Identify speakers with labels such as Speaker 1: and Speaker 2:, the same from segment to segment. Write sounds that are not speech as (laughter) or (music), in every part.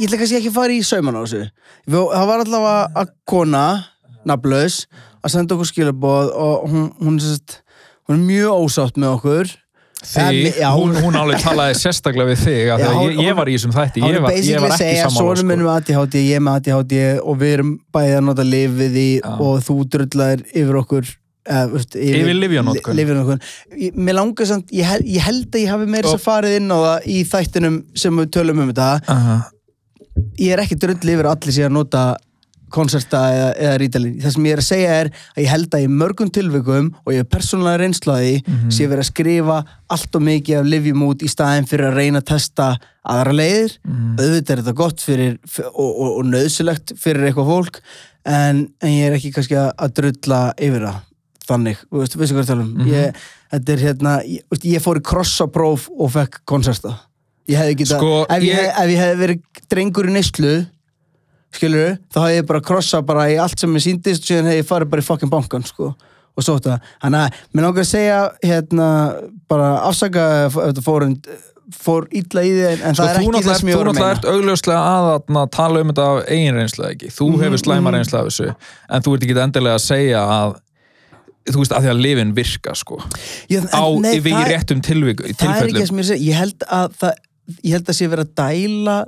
Speaker 1: Ég ætla kannski ekki að fara í sauman á þessu. Við- Það var allavega að kona, nafnlaus, að senda okkur skilaboð og hún, hún, sest, hún er mjög ósátt með okkur.
Speaker 2: Þig,
Speaker 1: Eh, já,
Speaker 2: hún, hún alveg talaði sérstaklega við þig af
Speaker 1: Já,
Speaker 2: því að
Speaker 1: hún-
Speaker 2: ég, ég var í þessum þætti,
Speaker 1: Hann
Speaker 2: ég
Speaker 1: er
Speaker 2: var, ég
Speaker 1: basically
Speaker 2: var
Speaker 1: að
Speaker 2: ekki
Speaker 1: segja Sónum minn
Speaker 2: sammála sko.
Speaker 1: með ADHD, ég er með ADHD og við erum bæði að nota lyf við því
Speaker 2: Já.
Speaker 1: og þú drullar yfir okkur eða, þú veist,
Speaker 2: Yfir lyfjanotkun.
Speaker 1: li- lyfjanotkun. Ég- Mér langar samt, ég, hel, ég held að ég hafi meira
Speaker 2: Og-
Speaker 1: þess að farið inn á það í þættinum sem við tölum um þetta
Speaker 2: Aha.
Speaker 1: ég er ekki drull yfir að allir sé að nota konserta eða, eða rítalín það sem ég er að segja er að ég held að í mörgum tilvikum og ég er persónulega reynslaði mm -hmm. sé verið að skrifa allt og mikið af livjum út í staðin fyrir að reyna að testa aðra leiðir auðvitað er þetta gott fyrir f- og, og, og nöðsilegt fyrir eitthvað fólk en, en ég er ekki kannski að, að drulla yfir það þannig, þú veist, veistu hvað ég er að tala um ég, þetta er hérna, ég, þú veist, ég fór í krossapróf og fekk konserta ég hefði getað,
Speaker 2: Sko,
Speaker 1: ef, ég,
Speaker 2: ég-
Speaker 1: hef- ef ég hefði verið drengur í neyslu skilur, þá hefði ég bara krossað bara í allt sem ég síndist og síðan hefði ég farið bara í fucking bankan sko og svo þetta, hann að, mér langar að segja hérna, bara afsaka ef þetta fór, en- fór illa í þig en, en
Speaker 2: Sko,
Speaker 1: það er ekki það
Speaker 2: þú náttúrulega
Speaker 1: sem
Speaker 2: ert-
Speaker 1: ég
Speaker 2: þú
Speaker 1: voru að
Speaker 2: náttúrulega ert
Speaker 1: meina
Speaker 2: augljóslega að atna, tala um þetta af eigin reynsla ekki þú
Speaker 1: Mhm,
Speaker 2: hefur slæma reynsla af þessu en þú ert ekki endilega að segja að þú veist að því að lifin virka sko
Speaker 1: Já, en-
Speaker 2: á
Speaker 1: nei,
Speaker 2: yfir í
Speaker 1: það-
Speaker 2: réttum tilvík,
Speaker 1: það er ekki það
Speaker 2: tilfellum
Speaker 1: sem ég er að segja, ég held að það, ég held að sé verið að dæla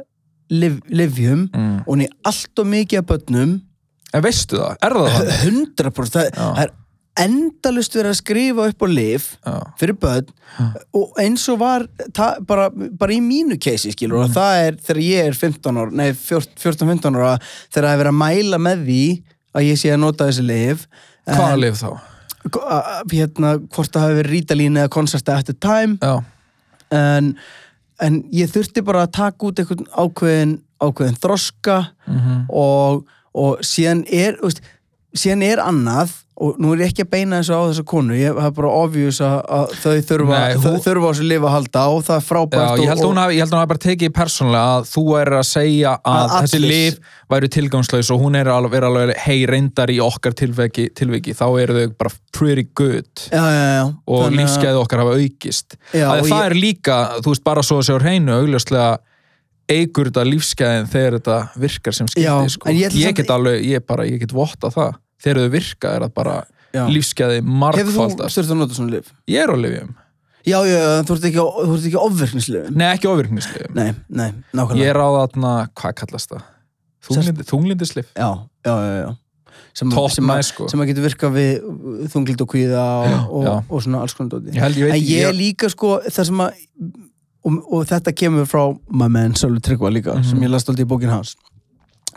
Speaker 1: liv, livjum
Speaker 2: Mm.
Speaker 1: og hún í allt og mikið af börnum
Speaker 2: en veistu það, er það
Speaker 1: (laughs)
Speaker 2: það?
Speaker 1: 100% það,
Speaker 2: Já.
Speaker 1: það er endalust verið að skrifa upp á lif
Speaker 2: Já.
Speaker 1: fyrir börn og eins og var ta, bara, bara í mínu keisi skilur
Speaker 2: Mm.
Speaker 1: og það er þegar ég er 15 ára nei 14-15 ára þegar það er verið að mæla með því að ég sé að nota þessi lif
Speaker 2: hvaða lif þá?
Speaker 1: hérna, hvort það hafi verið rítalín eða koncerta eftir time
Speaker 2: Já.
Speaker 1: en, en ég þurfti bara að taka út einhvern ákveðin, ákveðin þroska
Speaker 2: Mhm.
Speaker 1: og, og síðan er þú veist, síðan er annað og nú er ég ekki að beina þessu á þessa konu ég hef bara obvious að, að þau þurfa,
Speaker 2: Nei,
Speaker 1: þau
Speaker 2: hún-
Speaker 1: þurfa á þessu lifa að halda og það er
Speaker 2: Já,
Speaker 1: frábært
Speaker 2: ég held að hún
Speaker 1: og,
Speaker 2: hafi ég held að hún hafi bara tekið persónlega að þú er að segja að,
Speaker 1: Að
Speaker 2: þessi
Speaker 1: allir-
Speaker 2: lif væru tilgangslaus og hún er að vera alveg hei reyndar í okkar tilviki, tilviki þá eru þau bara pretty good
Speaker 1: já, já, já,
Speaker 2: og
Speaker 1: Þannig að-
Speaker 2: lífsgæði okkar hafa aukist
Speaker 1: Já,
Speaker 2: að
Speaker 1: og
Speaker 2: það
Speaker 1: ég-
Speaker 2: er líka, þú veist, bara svo að sjá hreinu augljóslega eigur þetta lífsgæðin þegar þetta virkar sem skildi
Speaker 1: Já,
Speaker 2: sko.
Speaker 1: en ég
Speaker 2: ég,
Speaker 1: ætla samt-
Speaker 2: get alveg, ég bara, ég get votta það þegar þau virka er það bara
Speaker 1: Já. hefur
Speaker 2: lífsgæði
Speaker 1: þú
Speaker 2: margfaldast
Speaker 1: styrst að nota svona lif?
Speaker 2: ég er á lifjum,
Speaker 1: já, já, já, þú ert ekki, á- þú ert ekki ofverknislifin
Speaker 2: nei ekki ofirknislifjum
Speaker 1: nei, nei, nákvæmlega
Speaker 2: ég er á þarna, hvað kallast það Þunglindi, þunglindislif
Speaker 1: já, já, já, já sem,
Speaker 2: Top
Speaker 1: sem, að,
Speaker 2: nice, sko.
Speaker 1: sem að getur virkað við þunglild og kvíða og, og,
Speaker 2: já.
Speaker 1: og, svona alls konar dóti
Speaker 2: ég held ég veit
Speaker 1: en
Speaker 2: ekki
Speaker 1: ég er
Speaker 2: ég-
Speaker 1: líka sko það sem að og, og þetta kemur frá my man Sölvi Tryggva líka
Speaker 2: Mhm.
Speaker 1: sem ég las aldrei í bókin hans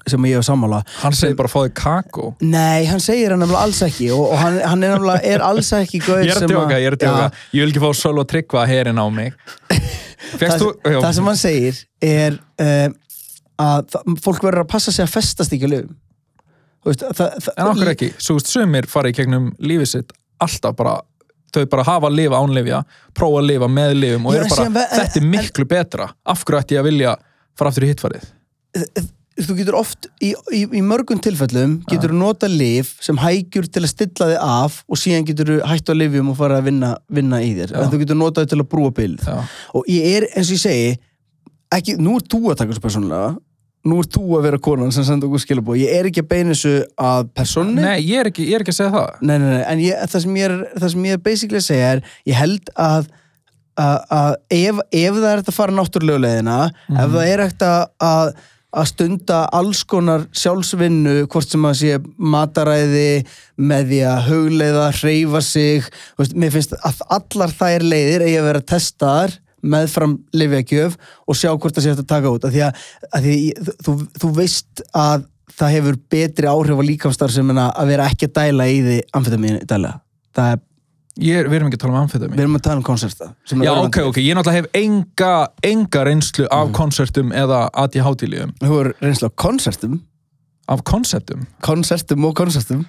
Speaker 1: sem ég hef sammála
Speaker 2: hann segir bara að fá þig kakó
Speaker 1: nei, hann segir hann nefnilega alls ekki og, og hann, hann er nefnilega er alls ekki gaur
Speaker 2: ég er
Speaker 1: sem
Speaker 2: að djóka, ég er að
Speaker 1: Já,
Speaker 2: djóka ég vil ekki fá söl og tryggva herin á (laughs) mig
Speaker 1: það,
Speaker 2: fegst þú já.
Speaker 1: það sem hann segir er uh, að það- fólk verður að passa sig að festast ekki á löfum veist, það, það,
Speaker 2: En okkur ekki, svo veist, sumir fara í gegnum lífið sitt alltaf bara, þau bara hafa að lifa án lifja, prófa að lifa með lifum og
Speaker 1: Já,
Speaker 2: eru
Speaker 1: en
Speaker 2: bara,
Speaker 1: síðan ve- en-
Speaker 2: þetta er miklu betra, af hverju ætti ég að vilja fara aftur í hittfarið?
Speaker 1: þú getur oft í, í, í mörgum tilfellum getur þú nota lif sem hægjur til að stilla þig af og síðan getur þú hægt á lifjum og fara að vinna, vinna í þér en þú getur notað þau til að brúa bylð
Speaker 2: Já.
Speaker 1: og ég er, eins og ég segi ekki, nú er þú að taka þessu persónulega nú er þú að vera konan sem senda okkur skilabóð ég er ekki að beina þessu að persónni
Speaker 2: Nei, ég er ekki, ég er ekki að segja það.
Speaker 1: nei, nei, nei, en ég, það, sem ég er, það sem ég er basically að segja er ég held að að að ef, ef það er hægt að fara náttúrulega leiðina
Speaker 2: Mhm.
Speaker 1: ef það er hægt að, að að stunda alls konar sjálfsvinnu hvort sem að sé mataræði með því að hugleiða hreyfa sig, þú veist, mér finnst að allar þær leiðir eigi að vera testaðar meðfram lifjakjöf og sjá hvort það sé hægt að taka út af því að, að því, að þú, þú veist að það hefur betri áhrif á líkamstar sem en að vera ekki að dæla í því amfetamín dæla það er,
Speaker 2: Ég er, við erum ekki að tala um amfetamin.
Speaker 1: við erum að tala um konserta sem er
Speaker 2: Já,
Speaker 1: örvandi.
Speaker 2: ok, ok, ég náttúrulega hef enga, enga reynslu
Speaker 1: Mm.
Speaker 2: af konsertum eða ADHD-lífum,
Speaker 1: Þú er reynsla á konsertum
Speaker 2: af konceptum.
Speaker 1: konsertum og konsertum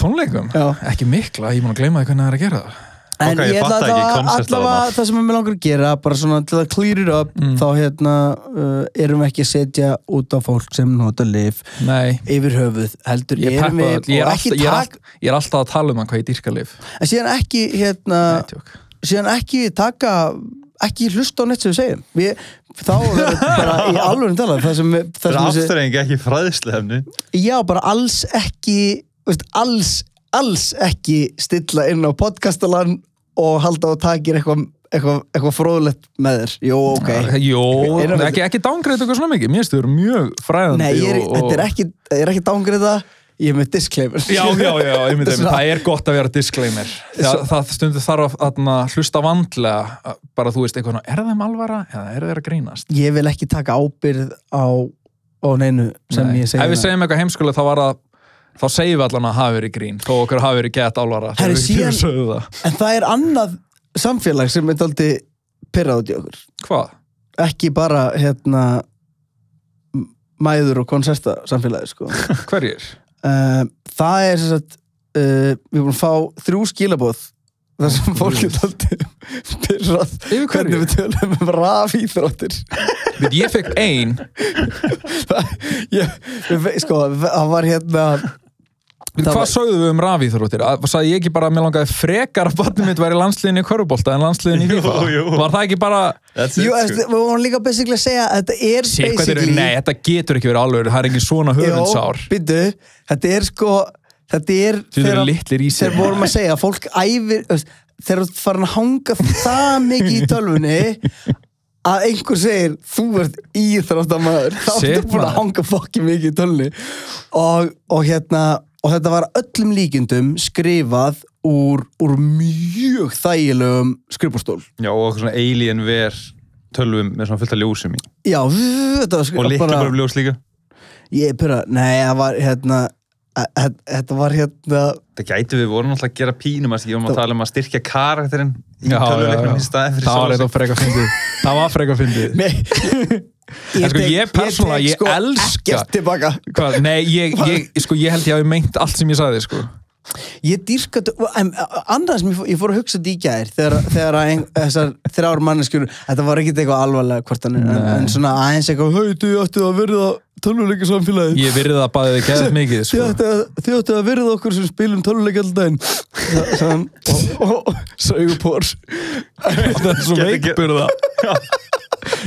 Speaker 2: tónleikum,
Speaker 1: Já.
Speaker 2: ekki mikla ég er múin að gleyma því hvernig það er að gera það
Speaker 1: En
Speaker 3: Ok, ég
Speaker 1: ég ætla
Speaker 3: fatta
Speaker 1: að
Speaker 3: ekki konceptið
Speaker 1: allavega
Speaker 3: þarna.
Speaker 1: það sem ég með langar að gera bara svona til að clear it up
Speaker 2: Mm.
Speaker 1: þá hérna uh, erum við ekki að setja út á fólk sem nota lif
Speaker 2: Nei,
Speaker 1: yfir höfuð heldur
Speaker 2: ég
Speaker 1: erum
Speaker 2: peppa
Speaker 1: við
Speaker 2: öll, ég er,
Speaker 1: og
Speaker 2: alltaf,
Speaker 1: ekki
Speaker 2: ég, er
Speaker 1: tak,
Speaker 2: alltaf, ég er alltaf að tala um hann hvað ég dýrka lif
Speaker 1: en síðan ekki hérna, síðan ekki taka ekki hlusta á neitt sem við segjum við, þá er bara
Speaker 2: (laughs)
Speaker 1: í alveg talað það sem, við- það
Speaker 3: Það
Speaker 1: sem við
Speaker 3: er
Speaker 1: segjum-
Speaker 3: afturrengi ekki fræðislefni.
Speaker 1: já bara alls ekki veist, alls, alls ekki stilla inn á podcastalan og halda og takir eitthvað eitthvað eitthva fróðlegt með þér jú ok
Speaker 2: Jó,
Speaker 1: Erum við-
Speaker 2: ekki, ekki dángreit eitthvað svona mikið mér finnst þau eru mjög fræðandi
Speaker 1: Nei, ég er,
Speaker 2: og, og...
Speaker 1: þetta er ekki, ég er ekki dángrið það, ég er með disclaimer.
Speaker 2: Já, já, já, ég myndi,
Speaker 1: Svona-
Speaker 2: það er gott að vera disclaimer það, það stundu þarf að þarna, hlusta vandlega bara þú veist eitthvað, svona, er þeim alvara eða er þeir að grínast
Speaker 1: Ég vil ekki taka ábyrð á, á neinu sem
Speaker 2: Nei.
Speaker 1: ég segja.
Speaker 2: Ef við segjum eitthvað heimskulega þá var það þá segjum við allan að hafi verið grín þó okkur hafi verið gett álvara þegar
Speaker 1: Herri,
Speaker 2: við
Speaker 1: síðan-
Speaker 2: sögðu það.
Speaker 1: En það er annað samfélag sem er aldrei pyrrað út í okkur.
Speaker 2: Hvað?
Speaker 1: Ekki bara, hérna, m- mæður og konserta samfélagi, sko.
Speaker 2: Hverjir?
Speaker 1: Eh, það er sem sagt uh, við erum að fá þrjú skilaboð þar sem fólk er aldrei pyrrað
Speaker 2: Yfir hverju?
Speaker 1: hvernig við tölum um rafíþróttir.
Speaker 2: Við, ég fekk ein
Speaker 1: Það- ég, við- sko, það var hérna (laughs) Það
Speaker 2: Við, Hvað
Speaker 1: var-
Speaker 2: sögðu við um rafíþróttir? Að- Sagði ég ekki bara að mér langaði frekar að barnið mitt væri landsliðin í körubólta en landsliðin í
Speaker 3: Jú,
Speaker 2: FIFA?
Speaker 3: jú.
Speaker 2: Var það ekki bara
Speaker 3: That's it,
Speaker 1: Jú,
Speaker 3: sko.
Speaker 1: eftir, við vorum líka basically að segja að þetta er
Speaker 2: Sér hvað þeir eru,
Speaker 1: basically
Speaker 2: nei, þetta getur ekki verið alveg það er ekki svona höfundsár
Speaker 1: býttu, þetta er sko þetta er
Speaker 2: Þeir eru litlir í sér
Speaker 1: þegar vorum að segja að fólk æfir þú veist, þegar þú ert farin að hanga það mikið í tölvunni að einhver segir þú ert íþróttamæður þá
Speaker 2: Shit,
Speaker 1: ertu búin að
Speaker 2: maður.
Speaker 1: hanga fokki mikið í tölvunni og, og hérna og þetta var öllum líkindum skrifað úr, úr mjög þægilegum skrifbúrstól
Speaker 3: Já, og okkur svona alienware tölvum með svona fullt af ljósum í.
Speaker 1: já, þetta var
Speaker 3: Og
Speaker 1: skrifað
Speaker 3: líkla bara ljós líka.
Speaker 1: Ég er pyrra, nei, það var hérna að- að- Þetta var hérna
Speaker 3: Það gæti við vorum alltaf að gera pínum að skilja um að tala um að styrkja karakterinn í
Speaker 2: Já, já, já.
Speaker 3: tölvuleiknum í staði fyrir
Speaker 2: Það var
Speaker 3: sjálf
Speaker 2: eitthvað frekar fyndið Það var frekar fyndið
Speaker 1: (laughs) Nei
Speaker 2: En sko, ég persónulega, ég elska-
Speaker 1: Ekkert tilbaka
Speaker 2: Hvað? Nei, ég, ég, sko, ég held ég hafi meint allt sem ég sagði sko.
Speaker 1: Ég dýrka Andað sem ég fór, ég fór að hugsa þetta í gær Þegar, þegar að ein, þessar þrjár manneskjur Þetta var ekkit eitthvað alvarlega hvort hann er en, en svona aðeins eitthvað Hauðu, þið ættu að verða tölvuleika samfélagi
Speaker 2: Ég virði það bæðið geðið mikið
Speaker 1: Þið
Speaker 2: sko.
Speaker 1: ættu að- þið ættu að verða okkur sem spilum tölvuleika alltaf einn Sann
Speaker 2: (laughs)
Speaker 1: Og, og, og sögupor
Speaker 2: Það er svo
Speaker 3: Gæti-
Speaker 2: veikburða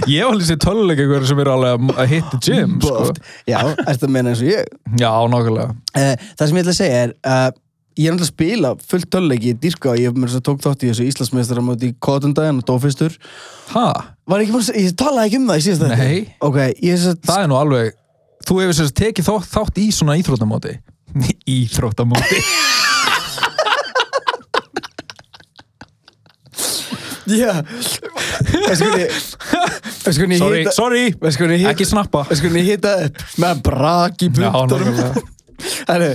Speaker 2: Ég var lýsið töluleik eitthvað sem eru alveg að- að hitta gym sko.
Speaker 1: Já, ertu að meina eins og ég
Speaker 2: Já, nákvæmlega
Speaker 1: Eh, það sem ég ætla að segja er uh, ég er náttúrulega að spila fullt töllegi ég dýrka og ég hef mér þess að tók þátt í þessu Íslandsmeistar á móti í Kotundaginn og Dófistur
Speaker 2: Hæ?
Speaker 1: var ég ekki búin að segja, ég talaði ekki um það í síðast þetta
Speaker 2: Nei.
Speaker 1: ok, ég er satt
Speaker 2: Það er nú alveg Þú hefur sérst tekið þátt, þátt í svona íþróttamóti (laughs) Íþróttamóti (laughs)
Speaker 1: skoðin ég
Speaker 2: Sorry,
Speaker 1: hita
Speaker 2: sorry
Speaker 1: skoðin ég
Speaker 2: Ekki
Speaker 1: hita
Speaker 2: snappa
Speaker 1: skoðin ég hita upp með brak í
Speaker 2: Já,
Speaker 1: punktunum (laughs)
Speaker 2: nákvæmlega.
Speaker 1: Herru,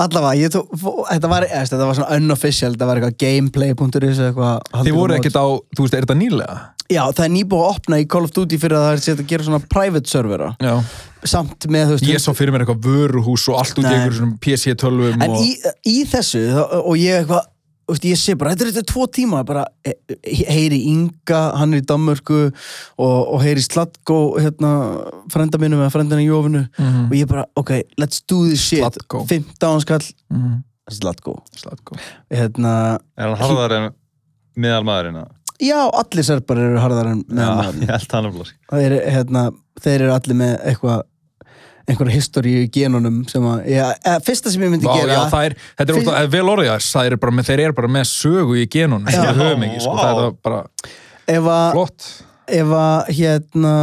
Speaker 1: allavega, ég tók, fó- þetta var, eða, þetta var svona unofficial, þetta var eitthvað gameplay.is eða eitthvað
Speaker 2: Þið voru
Speaker 1: haldið á mót.
Speaker 2: ekkert á, þú veist, er þetta nýlega?
Speaker 1: Já, það er nýbúið að opna í Call of Duty fyrir að það er sétt að gera svona private servera
Speaker 2: Já
Speaker 1: samt með, þú veist
Speaker 2: Ég sá fyrir mér eitthvað vöruhús og allt út í
Speaker 1: Nei.
Speaker 2: einhverjum svona PC-tölvum
Speaker 1: en
Speaker 2: og...
Speaker 1: í, í þessu þá- og ég eitthvað þú veist, ég sé bara, þetta er þetta tvo tíma bara eh, heyri Inga, hann er í Danmörku og, og heyri Slatko hérna, frenda mínum eða frendina í Jófinu
Speaker 2: Mhm.
Speaker 1: og ég bara, ok, let's do this shit
Speaker 2: Zlatko.
Speaker 1: 15 skall
Speaker 2: Mhm.
Speaker 1: Slatko
Speaker 2: Slatko.
Speaker 1: hérna,
Speaker 3: Er hann harðar en meðal maðurinn? eða?
Speaker 1: já, allir serbar eru harðar en
Speaker 3: Já,
Speaker 1: meðan
Speaker 3: ég held það náttúrulega.
Speaker 1: það er, hérna, þeir eru allir með eitthvað einhverja historíu í genunum sem að, ég, eða, fyrsta sem ég myndi
Speaker 2: Vá,
Speaker 1: gera
Speaker 2: já, það er, þetta er
Speaker 1: Fyrst-
Speaker 2: Fyrst... vel orðið þess, það er bara með, þeir eru bara með sögu í genunum sem
Speaker 1: Já.
Speaker 2: við höfum ekki, sko,
Speaker 3: Vá.
Speaker 2: það er bara
Speaker 1: ef að,
Speaker 2: flott.
Speaker 1: ef að hérna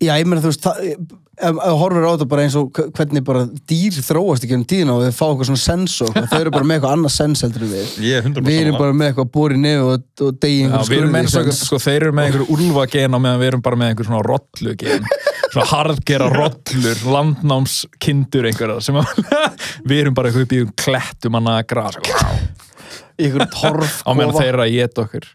Speaker 1: já, ég meina þú veist það, ef, ef þú horfir á þetta bara eins og hve- hvernig bara dýr þróast ekki um tíðina og þau fá eitthvað svona sens og eitthvað, þau eru bara með eitthvað annað sens heldur en við
Speaker 3: Ég er 100%
Speaker 1: við erum
Speaker 3: sammála.
Speaker 1: bara með eitthvað búri nefn og, og degi einhverjum
Speaker 2: Já, við erum
Speaker 1: skurði
Speaker 2: með eins og
Speaker 1: sens.
Speaker 2: eitthvað, sko, þeir eru með einhverju úlfagen á meðan við erum bara með einhverju svona rollugen svona harðgera rollur landnámskindur einhverja sem að, (laughs) við erum bara eitthvað upp í um klettum að nagra sko,
Speaker 1: í einhverjum torf
Speaker 2: (laughs) á meðan þeir eru að geta okkur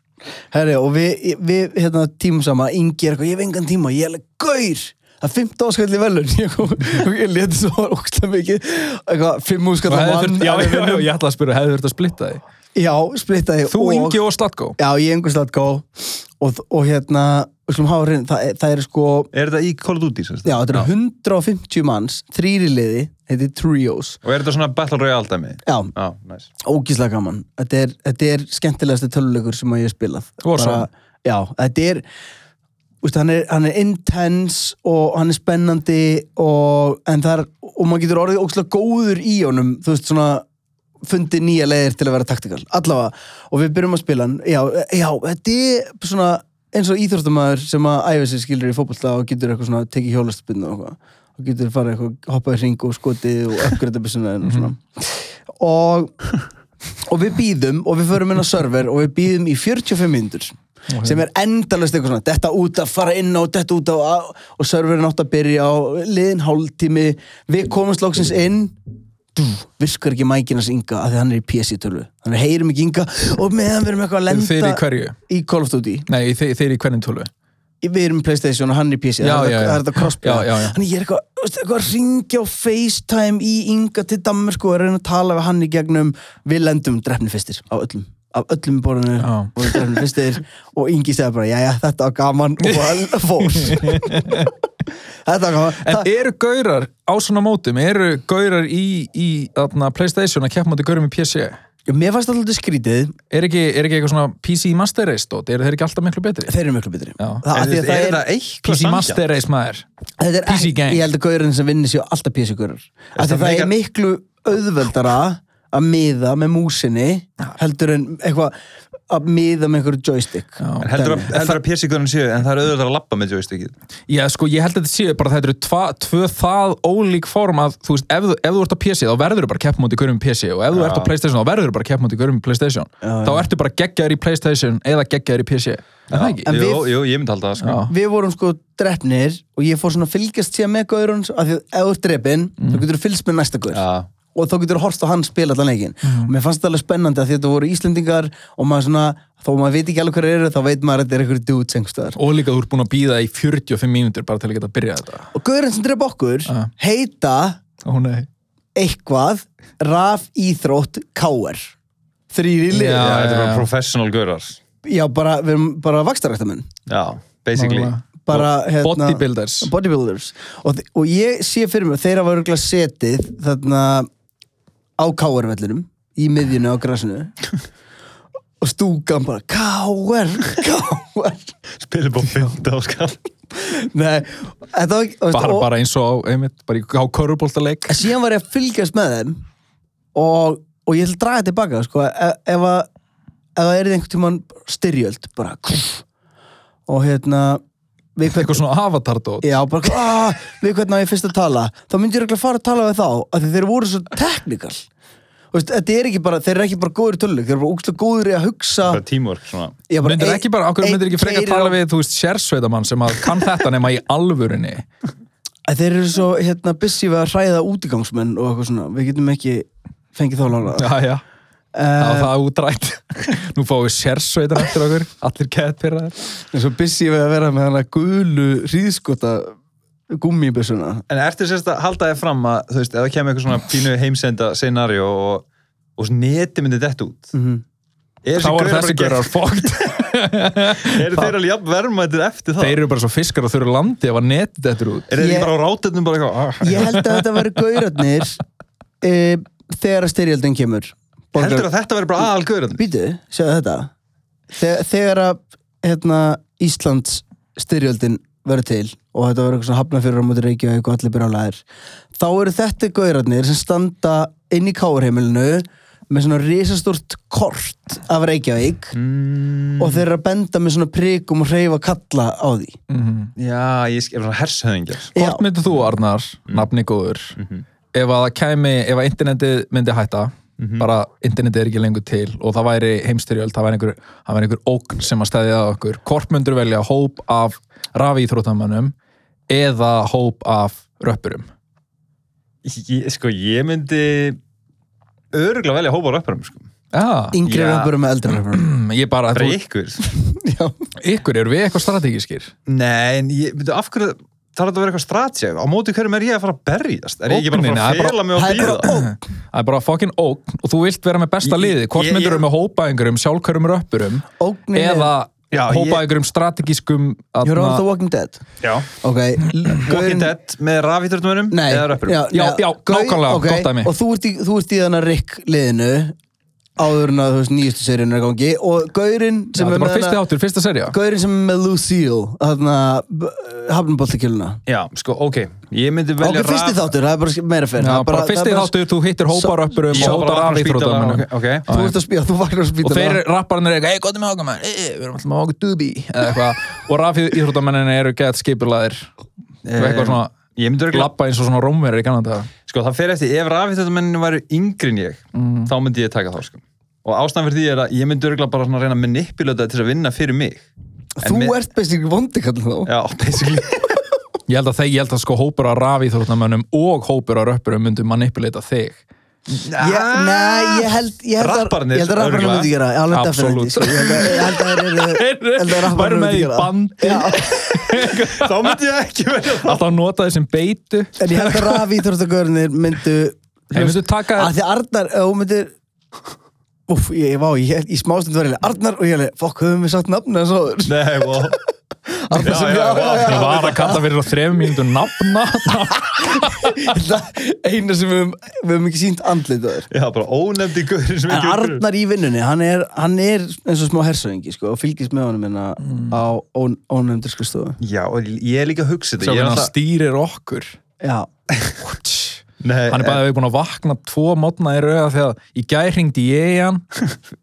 Speaker 1: Herri, og við, við hérna, tímum saman, Ingi er eitthvað, ég hef engan tíma, ég er alveg gaur. Það það er 15 áskall í velun (laughs) ég, kom- ég leti svo ógsta mikið eitthvað 5 áskall
Speaker 2: Og
Speaker 1: að
Speaker 2: hefði
Speaker 1: mann
Speaker 2: þurft- Já, já, já,
Speaker 1: (laughs) já,
Speaker 2: ég ætla að spyrja, hefði þurft að splitta því
Speaker 1: já, splittaði
Speaker 2: Þú, Ingi og Slatko
Speaker 1: já, ég Ingi og Slatko og, og hérna, við slum hafa hrein það, það er sko
Speaker 3: Er þetta í Call of Duty? sem sagt?
Speaker 1: Já, þetta eru 150 manns, þrýri liði, þetta er trios.
Speaker 3: Og er þetta svona Battle Royale dæmi?
Speaker 1: Já,
Speaker 3: Já, næs.
Speaker 1: ógíslega gaman. Þetta er, þetta er skemmtilegasti töluleikur sem að ég hef spilað.
Speaker 2: Warzone.
Speaker 1: Bara- Já, þetta er, úst, hann, er, hann er intense og hann er spennandi og, en það er, og maður getur orðið ógíslega góður í honum, þú veist, svona fundi nýja leiðir til að vera taktikal allavega, og við byrjum að spila hann já, já, þetta er svona eins og íþróttamæður sem að æfa sér skilur í fótbolta og getur eitthvað svona tekið hjólastbyrnu og eitthvað, og getur farið eitthvað hoppað í hring og skotið og uppgreita byssuna og svona og, og við býðum og við förum inn á server og við býðum í 45 mínútur sem er endalast eitthvað svona þetta út að fara inn á, þetta út á og serverin átt að byrja á liðin hálftími, við komumst lóksins inn dú, virkar ekki mækin hans Inga að því hann er í PS-tölu hann heyrum ekki Inga og meðan við erum eitthvað að
Speaker 2: Eru Þeir í
Speaker 1: lenda
Speaker 2: hverju?
Speaker 1: í Call of Duty
Speaker 2: Nei, þeir, þeir í hvernig tölu?
Speaker 1: við erum í Playstation og hann er í PC
Speaker 2: Já,
Speaker 1: það er
Speaker 2: já,
Speaker 1: þetta-
Speaker 2: já.
Speaker 1: það er þetta crossplay
Speaker 2: Já, já, já.
Speaker 1: þannig ég er eitthvað, veistu, eitthvað að ringja á FaceTime í Inga til Danmörku og reyna að tala við hann í gegnum við lendum drefni fyrstir á öllum af öllum borðinu
Speaker 2: Já.
Speaker 1: og drefni fyrstir og Ingi segja bara, já, já, þetta var gaman og hann
Speaker 2: (laughs)
Speaker 1: fór þetta var gaman
Speaker 2: En
Speaker 1: Það-
Speaker 2: eru gaurar á svona mótum, eru gaurar í, í þarna, Playstation að keppa móti gaurum í PC?
Speaker 1: Já, mér fannst alltaf dálítið skrítið
Speaker 2: Er ekki, er ekki eitthvað svona PC Master Race dót? Eru þeir ekki alltaf miklu betri?
Speaker 1: þeir eru miklu betri
Speaker 2: Já.
Speaker 1: það, er,
Speaker 3: Er, er,
Speaker 1: það
Speaker 3: er
Speaker 1: er,
Speaker 3: þetta eitthvað
Speaker 2: PC
Speaker 3: samkjæmt?
Speaker 2: Master Race maður
Speaker 1: þetta er
Speaker 2: PC gang.
Speaker 1: ekki, ég held að gaurinn sem vinnir séu alltaf PC-gaurar af því
Speaker 3: það
Speaker 1: það er
Speaker 3: meika-
Speaker 1: miklu auðveldara að miða með músinni heldur en eitthvað að miða með einhverju joystick
Speaker 3: En heldur að, heldur að PC-görnin séu, en það er auðvitað að lappa með joystickið.
Speaker 2: Já, sko, ég held að þetta séu bara að þetta eru tva, tvö það ólík form að, þú veist, ef, þú- ef þú ert á PC þá verður þú bara að keppa móti gaurum í PC og ef þú ert á Playstation þá verður þú bara að keppa móti gaurum í Playstation þá ertu bara geggjaður í Playstation eða geggjaður í PC Er það ekki?
Speaker 1: En
Speaker 3: Jú,
Speaker 1: við-
Speaker 3: jú, ég myndi halda það, sko.
Speaker 2: Já.
Speaker 1: við vorum sko drefnir og ég fór svona að fylgjast síðan með gaurun af því að ef þú ert drefin þá getur þú fylgst með næsta gaur
Speaker 3: Já.
Speaker 1: og þá getur þú horfst á hann spila allan leikin og mér fannst þetta alveg spennandi að því að þetta voru Íslendingar og maður svona, þó maður veit ekki alveg hver eru þá veit maður að þetta er einhverju dudes einhverstaðar
Speaker 2: Og líka þú ert búin að býða í 45 mínútur bara til að geta að byrja þetta
Speaker 1: og gaurinn sem drepa okkur
Speaker 2: Já.
Speaker 1: heita
Speaker 2: Ó nei
Speaker 1: eitthvað raf íþrótt káer þrýri lið
Speaker 2: Já,
Speaker 3: Já,
Speaker 1: já.
Speaker 3: þetta
Speaker 2: já,
Speaker 3: er
Speaker 2: já.
Speaker 3: bara professional görar.
Speaker 1: bara, við erum bara vakstaræktamenn
Speaker 3: Já, basically.
Speaker 2: Nákvæmlega.
Speaker 1: bara hérna,
Speaker 2: Bodybuilders
Speaker 1: bodybuilders og, þi- og ég sé fyrir mig, þeirra var örgulega setið þarna á káervellinum í miðjunu á grasinu og stúkan bara káer, káer
Speaker 3: Spilum bara 15 áskall.
Speaker 1: nei, þetta var ekki
Speaker 2: bara,
Speaker 1: og-
Speaker 2: bara eins og á, einmitt, bara í- á körubóltaleik
Speaker 1: En síðan var ég að fylgjast með þeim og, og ég ætla að draga þetta tilbaka sko, ef, ef að ef það er einhvern tímann styrjöld bara kúf, og hérna við
Speaker 2: eitthvað
Speaker 1: hvern,
Speaker 2: svona avatardót
Speaker 1: já, bara, (laughs) aah, við hvern á ég fyrst að tala þá myndi ég örugglega fara að tala við þá að þeir voru svo teknikal Veist, þetta er ekki bara, þeir eru ekki bara góður töluleik þeir eru bara úkslega góður í að hugsa
Speaker 3: Bara teamwork, svona.
Speaker 1: Ég bara,
Speaker 2: myndir
Speaker 1: ein-
Speaker 2: ekki bara, okkur
Speaker 1: einn,
Speaker 2: myndir ekki frekar
Speaker 1: tveir
Speaker 2: tala
Speaker 1: eru-
Speaker 2: við þú veist sérsveitamann sem að kann þetta nema í alvörinni
Speaker 1: (laughs) að þeir eru svo hérna busy við að hræða útigangsmenn og eitthvað svona, við getum ekki fengið þá lána
Speaker 2: já já Það
Speaker 1: Eh,
Speaker 2: var það útrætt. (laughs) Nú fáum við sérsveitan eftir okkur. Allir gett fyrir það.
Speaker 1: Það er svo busy við að vera með hana gulu hríðskota gummibissuna.
Speaker 3: En ertu sérst að halda þér fram að, þú veist, ef það kemur eitthvað svona pínu heimsenda scenario og, og svona neti myndi dett út. Er
Speaker 2: Þá var þessi gerar
Speaker 1: (laughs)
Speaker 2: fókt.
Speaker 3: Eru þeir alveg jafn verðmættir eftir það?
Speaker 2: Þeir eru bara svo fiskar og þau eru landi ef að neti þetta út.
Speaker 3: Eru þeir
Speaker 1: Ég-
Speaker 3: ekki bara á rátetnum bara eitthvað? "Ah,
Speaker 1: Ég held að þetta veri gaurarnir e, þegar að styrjöldin kemur.
Speaker 3: ah, Heldur að þetta verður bara aðal gaurinn?
Speaker 1: Býtu, sjáðu þetta. Þegar, þegar að hérna, Íslands styrjöldin verður til og þetta verður eitthvað svona hafna fyrir á móti Reykjavík og allir byrja á læðir þá eru þetta gaurarnir sem standa inn í káurheimilinu með svona risastórt kort af Reykjavík og þeir eru að benda með svona prikum og hreyfa kalla á því
Speaker 3: Já, ég skil, er svona sko. hershöðingjar.
Speaker 1: Já.
Speaker 2: Hvort myndir þú, Arnar,
Speaker 3: Mm.
Speaker 2: nafni góður,
Speaker 3: Mhm.
Speaker 2: ef að það kæmi, ef að internetið myndi hætta,
Speaker 3: Mhm.
Speaker 2: bara internetið er ekki lengur til og það væri heimstyrjöld, það væri einhver, það væri einhver ógn sem að stæði að okkur. Hvort myndir velja hóp af rafíþróttamönnum eða hóp af röppurum?
Speaker 3: Ég, sko, ég myndi öruglega velja hópa á röpparum, sko.
Speaker 2: Já,
Speaker 1: yngri
Speaker 3: Já.
Speaker 1: röpurum með eldri röpurum
Speaker 2: (clears throat) ég bara,
Speaker 3: Bara
Speaker 2: þú,
Speaker 3: ykkur.
Speaker 1: já,
Speaker 2: ykkur, eru við eitthvað strategískir?
Speaker 3: Nei, en ég, veitu, af hverju, þarf þetta að vera eitthvað strategi á móti hverjum er ég að fara að berjast er ég ekki bara að
Speaker 2: Ógninni, það
Speaker 3: fara
Speaker 2: er
Speaker 3: að
Speaker 2: bara-
Speaker 3: fela mig og
Speaker 1: það er
Speaker 3: býða
Speaker 1: bara ógn.
Speaker 2: Það er bara fucking ógn og þú vilt vera með besta
Speaker 3: Ég-
Speaker 2: liði hvort
Speaker 3: ég-
Speaker 2: myndur
Speaker 3: ég-
Speaker 2: með hópa einhverjum sjálfkjörum röppurum
Speaker 1: Ógnin er-
Speaker 2: eða
Speaker 3: Já, ég-
Speaker 2: hópa einhverjum strategískum
Speaker 1: You're all the
Speaker 2: atna,
Speaker 1: Walking Dead
Speaker 3: Já.
Speaker 1: Ok
Speaker 3: Walking Dead með rafíturnumunum
Speaker 1: Nei,
Speaker 3: eða röppurum
Speaker 2: Já, já, nákvæmlega,
Speaker 1: ok,
Speaker 2: gott dæmi.
Speaker 1: Og þú ert í, þú ert í þannig Rick liðinu áður en að þú veist nýjustu seríun er að gangi og Gaurin
Speaker 2: Já,
Speaker 1: sem
Speaker 2: það
Speaker 1: er
Speaker 2: er bara
Speaker 1: með
Speaker 2: fyrsti
Speaker 1: hana- Sko,
Speaker 2: þáttur, fyrsta serja
Speaker 1: Gaurinn sem er með Lucille þarna hafnabóltakiluna
Speaker 3: já, sko, ok ég myndi
Speaker 1: Ok,
Speaker 3: velja
Speaker 1: fyrsti þáttur, það er bara meira fyrir
Speaker 2: Já, bara fyrsti þáttur, þú hittir um
Speaker 1: Sá-
Speaker 2: hópa röppurum
Speaker 3: Já,
Speaker 2: og
Speaker 3: bara
Speaker 2: hópa
Speaker 3: vakna á spítala,
Speaker 2: rafíþrótamönnum
Speaker 3: ok, ok.
Speaker 1: Þú ert að spila, þú vaknar að spila
Speaker 2: og þeir rapparinn eru eitthvað, ei, gott er með okkur mann, ei, við erum alltaf með okkur dubi eða eitthvað, og rafið íþróttamennin eru gett skipulaðir eitthvað svona,
Speaker 3: ég myndi örugglega-
Speaker 2: lappa eins og svona rómverið í kannan dag
Speaker 3: Sko það fer eftir, ef rafíþjóttamenninu væri yngri en ég,
Speaker 1: Mm.
Speaker 3: þá myndi ég taka þá sko. Og ástæðan fyrir því er að ég myndi örgulega bara svona reyna að manipulata þetta til að vinna fyrir mig. En
Speaker 1: Þú
Speaker 3: með-
Speaker 1: ert basically vondikall þá
Speaker 3: Já, basically.
Speaker 2: ég held að þeir, ég held að sko hópur af rafíþróttamönnum og hópur af röppurum myndu manipulata þig
Speaker 1: (laughs) Já, Nei, ég held ég held að-
Speaker 3: Rappararnir,
Speaker 1: Ég held að rapparnir
Speaker 3: örugglega.
Speaker 1: myndi gera Alveg definitely
Speaker 2: Absolutt.
Speaker 1: sko. Ég held að- ég held að
Speaker 2: (laughs)
Speaker 1: þeir eru- ég held að rapparnir
Speaker 2: væru með
Speaker 1: myndi
Speaker 2: í
Speaker 1: gera það.
Speaker 2: bandi
Speaker 1: Já,
Speaker 3: þá myndi ég ekki velja það.
Speaker 2: alltaf nota þessum beitu
Speaker 1: En ég held að rafíþróttagörnir myndu
Speaker 2: Þeir myndu taka-
Speaker 1: Af Því að Arnar, ef hún myndir Úf, ég, ég, vá, ég, held- í smástund var ég alveg Arnar og ég alveg, fokk, höfum við satt nafna en svo
Speaker 3: Nei, wow.
Speaker 1: Arnar
Speaker 3: Já,
Speaker 1: sem (laughs)
Speaker 3: já,
Speaker 1: ég-
Speaker 3: já, já.
Speaker 2: ég var að kalla fyrir á þrefum mínútur nafna
Speaker 1: Það eina sem við höfum, við höfum ekki sínt andlit á þér
Speaker 3: Já, bara ónefndi gaurin sem
Speaker 1: En
Speaker 3: ekki
Speaker 1: Arnar í vinnunni, hann er, hann er eins og smá hersöðingi, sko, og fylgist með honum hérna á ón- ónefndir skrifstofu.
Speaker 3: Já, og ég er líka að hugsa
Speaker 2: sjá
Speaker 3: þetta. Ég
Speaker 2: hvernig
Speaker 3: er
Speaker 2: hann
Speaker 3: alltaf...
Speaker 2: stýrir okkur
Speaker 1: Já, (laughs)
Speaker 3: Nei,
Speaker 1: Eh,
Speaker 2: hann er bara búin að vakna tvo mótna í rauða þegar í gær hringdi ég
Speaker 1: (laughs)
Speaker 2: í hann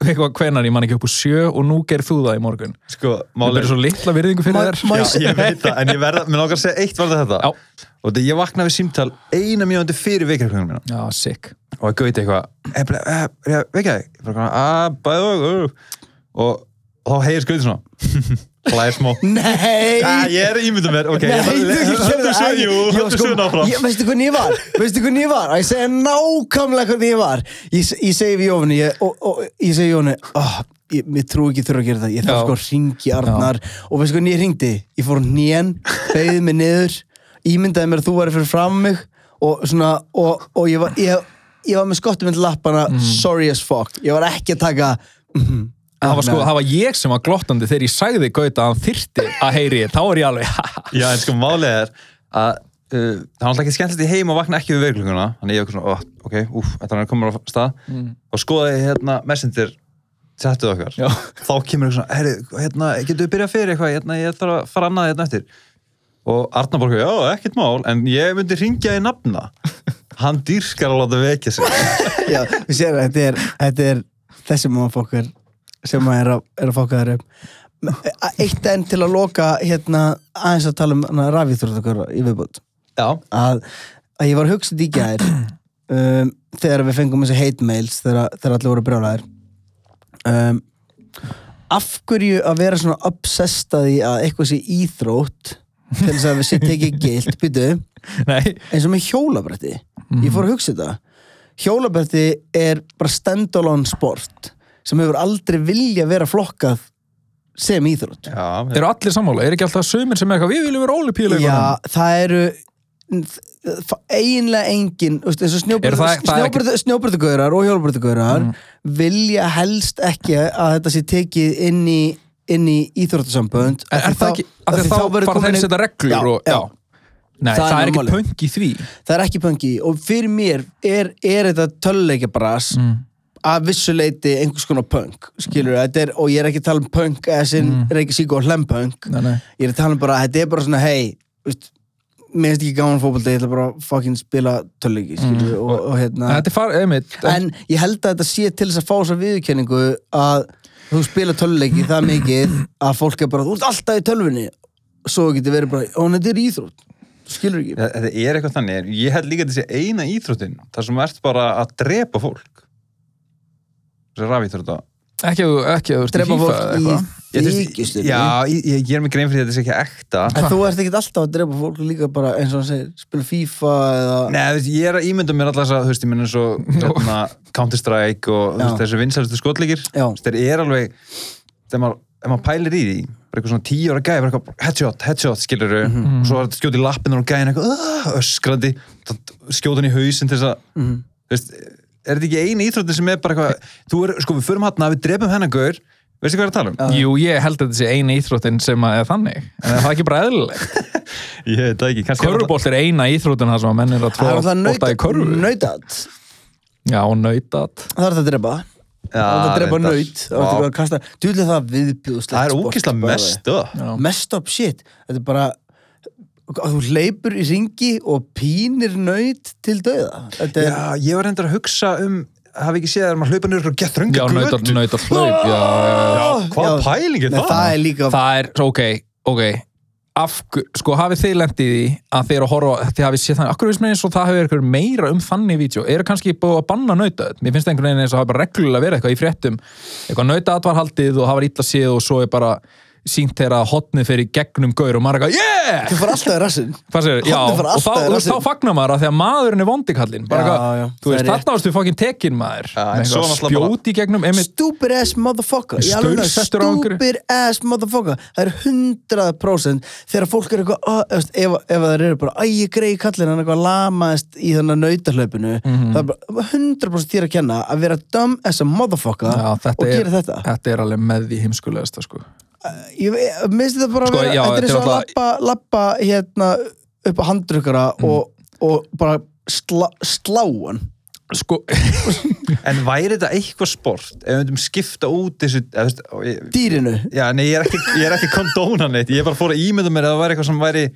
Speaker 2: eitthvað hvenar, ég man ekki upp úr sjö og nú ger þú það í morgun
Speaker 3: eh, Sko,
Speaker 2: það er
Speaker 3: málið er...
Speaker 2: svo litla virðingu fyrir
Speaker 1: Má-
Speaker 2: þér
Speaker 1: má
Speaker 3: Já,
Speaker 1: ég se-
Speaker 3: ég veit það, en ég verða, mér langar að segja eitt varða þetta. Já. Og þetta, ég vaknaði við símtal eina mínúti fyrir vekjarkvöngum mína.
Speaker 2: já, sick
Speaker 3: og að gauti eitthvað "Eh, ble- eh, er ég vekja þig? Ég bara konar, að, bæðu og, uh." og, og þá heyrir skauti
Speaker 2: (laughs)
Speaker 3: svona hlæði smá
Speaker 1: Nei!
Speaker 3: að, ég er að ímynda mér, ok
Speaker 1: Nei,
Speaker 3: (laughs) ég-
Speaker 1: þú ekki
Speaker 3: höldu
Speaker 1: gerði-
Speaker 3: sér, jú,
Speaker 1: Ég-
Speaker 3: höldu
Speaker 1: sko,
Speaker 3: sér náfram
Speaker 1: ég- Veistu hvernig ég var? Veistu hvernig ég var? Að Ég segja nákvæmlega hvernig ég var Ég, se- ég segi við Jófni ég, og, og ég segi Jófni oh, ég, ég trú ekki þurfa að gera það Ég þarf
Speaker 2: Já.
Speaker 1: sko að ringi Arnar og veistu hvernig ég ringdi? Ég fór nén, beigði mig niður ímyndaði mér að þú væri fyrir fram mig og svona, og, og ég var ég, ég var með skottum inn lappana
Speaker 2: Mhm.
Speaker 1: sorry as fuck, ég var ekki að taka mhm,
Speaker 2: það var, sko,
Speaker 1: Arnar.
Speaker 2: það var ég sem var glottandi þegar ég sagði Gauta að hann þyrti að heyri ég þá er ég alveg (laughs)
Speaker 3: já, en sko málið er að uh, það er alltaf ekki skemmtilegt í heim og vakna ekki við vekjarklunguna þannig ég er svona, oh, ok, úf, þetta er komin á stað og skoðaði hérna messenger tjattuð okkar
Speaker 2: Já.
Speaker 3: þá kemur eitthvað svona, herri, hérna, getur við byrjað fyrir eitthvað hérna, ég þarf að fara annað hérna eftir og Arnar bara, já, ekkert mál en ég myndi ringja í nafna (laughs) hann dýrskar að láta vekja sig (laughs)
Speaker 1: Já, við séum að þetta er, þetta er þessi maður fokkar sem maður er að, er að fokka þær upp eitt enn til að loka hérna aðeins að tala um rafíþróttakur í viðbútt
Speaker 3: já,
Speaker 1: að, að ég var að hugsa þetta í gær um, þegar við fengum þessi hate mails þegar, þegar allir voru brjólaðir um, af hverju að vera svona obsessed að því að eitthvað sé íþrótt til þess að við sétt ekki gilt býtu,
Speaker 2: nei,
Speaker 1: eins og með hjólabrætti
Speaker 2: Mhm.
Speaker 1: ég fór að hugsa þetta hjólabrætti er bara stand-alone sport sem hefur aldrei vilja vera flokkað sem íþrótt
Speaker 3: já,
Speaker 2: eru allir sammála er ekki alltaf sömur sem er eitthvað, við viljum vera
Speaker 1: Já,
Speaker 2: ólipíuleikunum
Speaker 1: það eru það- eiginlega engin þú veist, eins og
Speaker 2: Er Mm. það- það er ekki-
Speaker 1: snjóbröðugaurar og hjólbröðugaurar vilja helst ekki að þetta sé tekið inn í, inn í íþróttasambönd
Speaker 2: er, er það ekki, af því
Speaker 1: af
Speaker 2: að þá
Speaker 1: verður
Speaker 2: fara
Speaker 1: komin
Speaker 2: þeir að
Speaker 1: ein-
Speaker 2: setja reglur
Speaker 1: Já,
Speaker 2: og,
Speaker 1: já.
Speaker 2: já. nei,
Speaker 1: Það
Speaker 2: það,
Speaker 1: er
Speaker 2: er ekki
Speaker 1: málið.
Speaker 2: pönk í því
Speaker 1: það er ekki pöngi og fyrir mér er, er þetta töluleikja bras mm. að vissuleiti einhvers konar punk skilur
Speaker 2: Mm.
Speaker 1: þetta er, og ég er ekki að tala um punk eða sinn mm. Reykjavík sík og hlempunk
Speaker 2: Nei, nei.
Speaker 1: ég er að tala um bara, þetta er bara svona hei, veist mér finnst ekki gaman fótbolta, ég ætla bara að fucking spila töluleiki, skilur og, og, hérna
Speaker 2: Mm. þetta er far, einmitt,
Speaker 1: en ég held að þetta sé til þess að fá þess að viðurkenningu að þú spila töluleiki það mikið að fólk er bara, þú ert alltaf í tölvunni svo getur verið bara, ó, en þetta er íþrótt skilur ekki
Speaker 3: Þa- þetta er eitthvað þannig ég held líka þessi eina íþróttin þar sem ert bara að drepa fólk þessi rafíþrótta
Speaker 2: ekki að þú- ekki að þú ert í
Speaker 1: drepa
Speaker 2: FIFA eða
Speaker 1: fólk
Speaker 2: eitthvað.
Speaker 1: í
Speaker 3: Ég, þú veist,
Speaker 1: þykjustunni
Speaker 3: já, ég, ég ger mig grein fyrir því að þetta sé ekki ekta
Speaker 1: en þú ert ekkert alltaf að drepa fólk líka bara eins og hann segir, spila FIFA eða
Speaker 3: Nei, þú veist, ég er að ímynda mér alltaf þess að, þú veist, ég minna svo
Speaker 1: (laughs)
Speaker 3: hérna, Counter-Strike og þú veist,
Speaker 1: Já.
Speaker 3: þessu vinsælustu skotleikir
Speaker 1: Já.
Speaker 3: Þú veist, þeir eru alveg þegar maður, ef maður pælir í því bara eitthvað svona tíu ára gæði, bara eitthvað headshot, headshot, skilur þau,
Speaker 1: Mhm.
Speaker 3: og svo var þetta skjótið í lappinu og gæðin eitthvað, "Ugh", öskrandi skjótið hann í hausinn til þess að þú veist, er þetta ekki eini íþróttin sem er bara eitthvað, þú er, sko við förum hann við drefum hennan gaur, veistu hvað ég er að tala um?
Speaker 2: Jú, ég held að þetta sé eina íþróttin sem að er þannig, en það er ekki bara eðlilegt
Speaker 3: Ég veit það ekki, kannski
Speaker 2: Körfubolt er eina íþróttin þar sem að menn er að
Speaker 1: Það er
Speaker 2: tróða
Speaker 1: alltaf
Speaker 2: bólta í körfu
Speaker 1: nautat
Speaker 2: Já, og nautat
Speaker 1: Það er það að drepa Það er
Speaker 3: Já,
Speaker 1: það að drepa
Speaker 3: reyndar.
Speaker 1: naut Það er það að kasta Djúlega það viðbjóðslegt
Speaker 3: það er
Speaker 1: sport,
Speaker 3: ógislega
Speaker 1: by the way.
Speaker 3: mest upp
Speaker 2: Já.
Speaker 1: Messed up shit Þetta er bara að þú hleypur í ringi og pínir naut til dauða Þetta er
Speaker 3: Já, ég var reyndar að hugsa um hafi ekki séð að maður hlaupa niður og gett
Speaker 2: Já,
Speaker 3: rönga
Speaker 2: nautat, nautat hlaup já, já, já.
Speaker 3: Já, hvaða
Speaker 1: Já.
Speaker 3: pæling er
Speaker 1: Nei,
Speaker 3: það?
Speaker 1: það er líka
Speaker 2: Það er, ok, ok Af, hver- sko hafið þið lendið í því að þið eru að horfa, þið hafið séð þannig akkur veist mér eins og það hefur eitthvað meira um þannig vídeo eru kannski búið að banna nautaðið mér finnst einhvern veginn eins og það hafa bara reglulega verið eitthvað í fréttum eitthvað nautaðið var haldið og það var illa séð og svo er bara sínt þeirra að hotnið fyrir gegnum gaur og maður er eitthvað yeah!
Speaker 1: Þú fór alltaf í rassinn
Speaker 2: Hvað segir, já,
Speaker 1: Hornið fara
Speaker 2: og þá,
Speaker 1: alltaf í
Speaker 2: þú veist,
Speaker 1: rassinn.
Speaker 2: þá fagnar maður að því að maðurinn er vondikallinn bara
Speaker 1: Já,
Speaker 2: eitthvað,
Speaker 1: já, það
Speaker 2: þú veist,
Speaker 1: er rétt.
Speaker 2: þarna varstu fokkin tekin maður
Speaker 3: Já, en
Speaker 2: með
Speaker 3: svo
Speaker 2: eitthvað
Speaker 3: náttúrulega bara-
Speaker 2: spjóti í gegnum einmitt,
Speaker 1: Stupid ass motherfucker Ég alveg það,
Speaker 2: Staursettur á einhverju.
Speaker 1: Stupid ass motherfucker Það er 100% þegar fólk er eitthvað "Ah", þú veist, ef, ef það eru bara ægi grei kallin hann eitthvað lamaðist í þannig nautahlaupinu
Speaker 2: Mhm.
Speaker 1: það er bara 100% þér að kenna að vera dumb as a motherfucker
Speaker 2: já,
Speaker 1: og
Speaker 2: þetta, er,
Speaker 1: gera þetta
Speaker 2: þetta er alveg með því heimskulegasta sko.
Speaker 1: Ég ve- minnst þetta bara
Speaker 2: Sko,
Speaker 1: að vera
Speaker 2: já,
Speaker 1: þetta er
Speaker 2: þetta
Speaker 1: eins
Speaker 2: er
Speaker 1: og að
Speaker 2: alltaf-
Speaker 1: lappa, lappa hérna upp á handrukkara
Speaker 2: Mm.
Speaker 1: og, og bara sla, slá hann
Speaker 2: sko,
Speaker 3: En væri þetta eitthvað sport ef við myndum skipta út þessu eða, veist, og ég-
Speaker 1: dýrinu
Speaker 3: Já, nei, ég er ekki, ég er ekki kondóna neitt ég er bara fór að ímynda mér að það væri eitthvað sem væri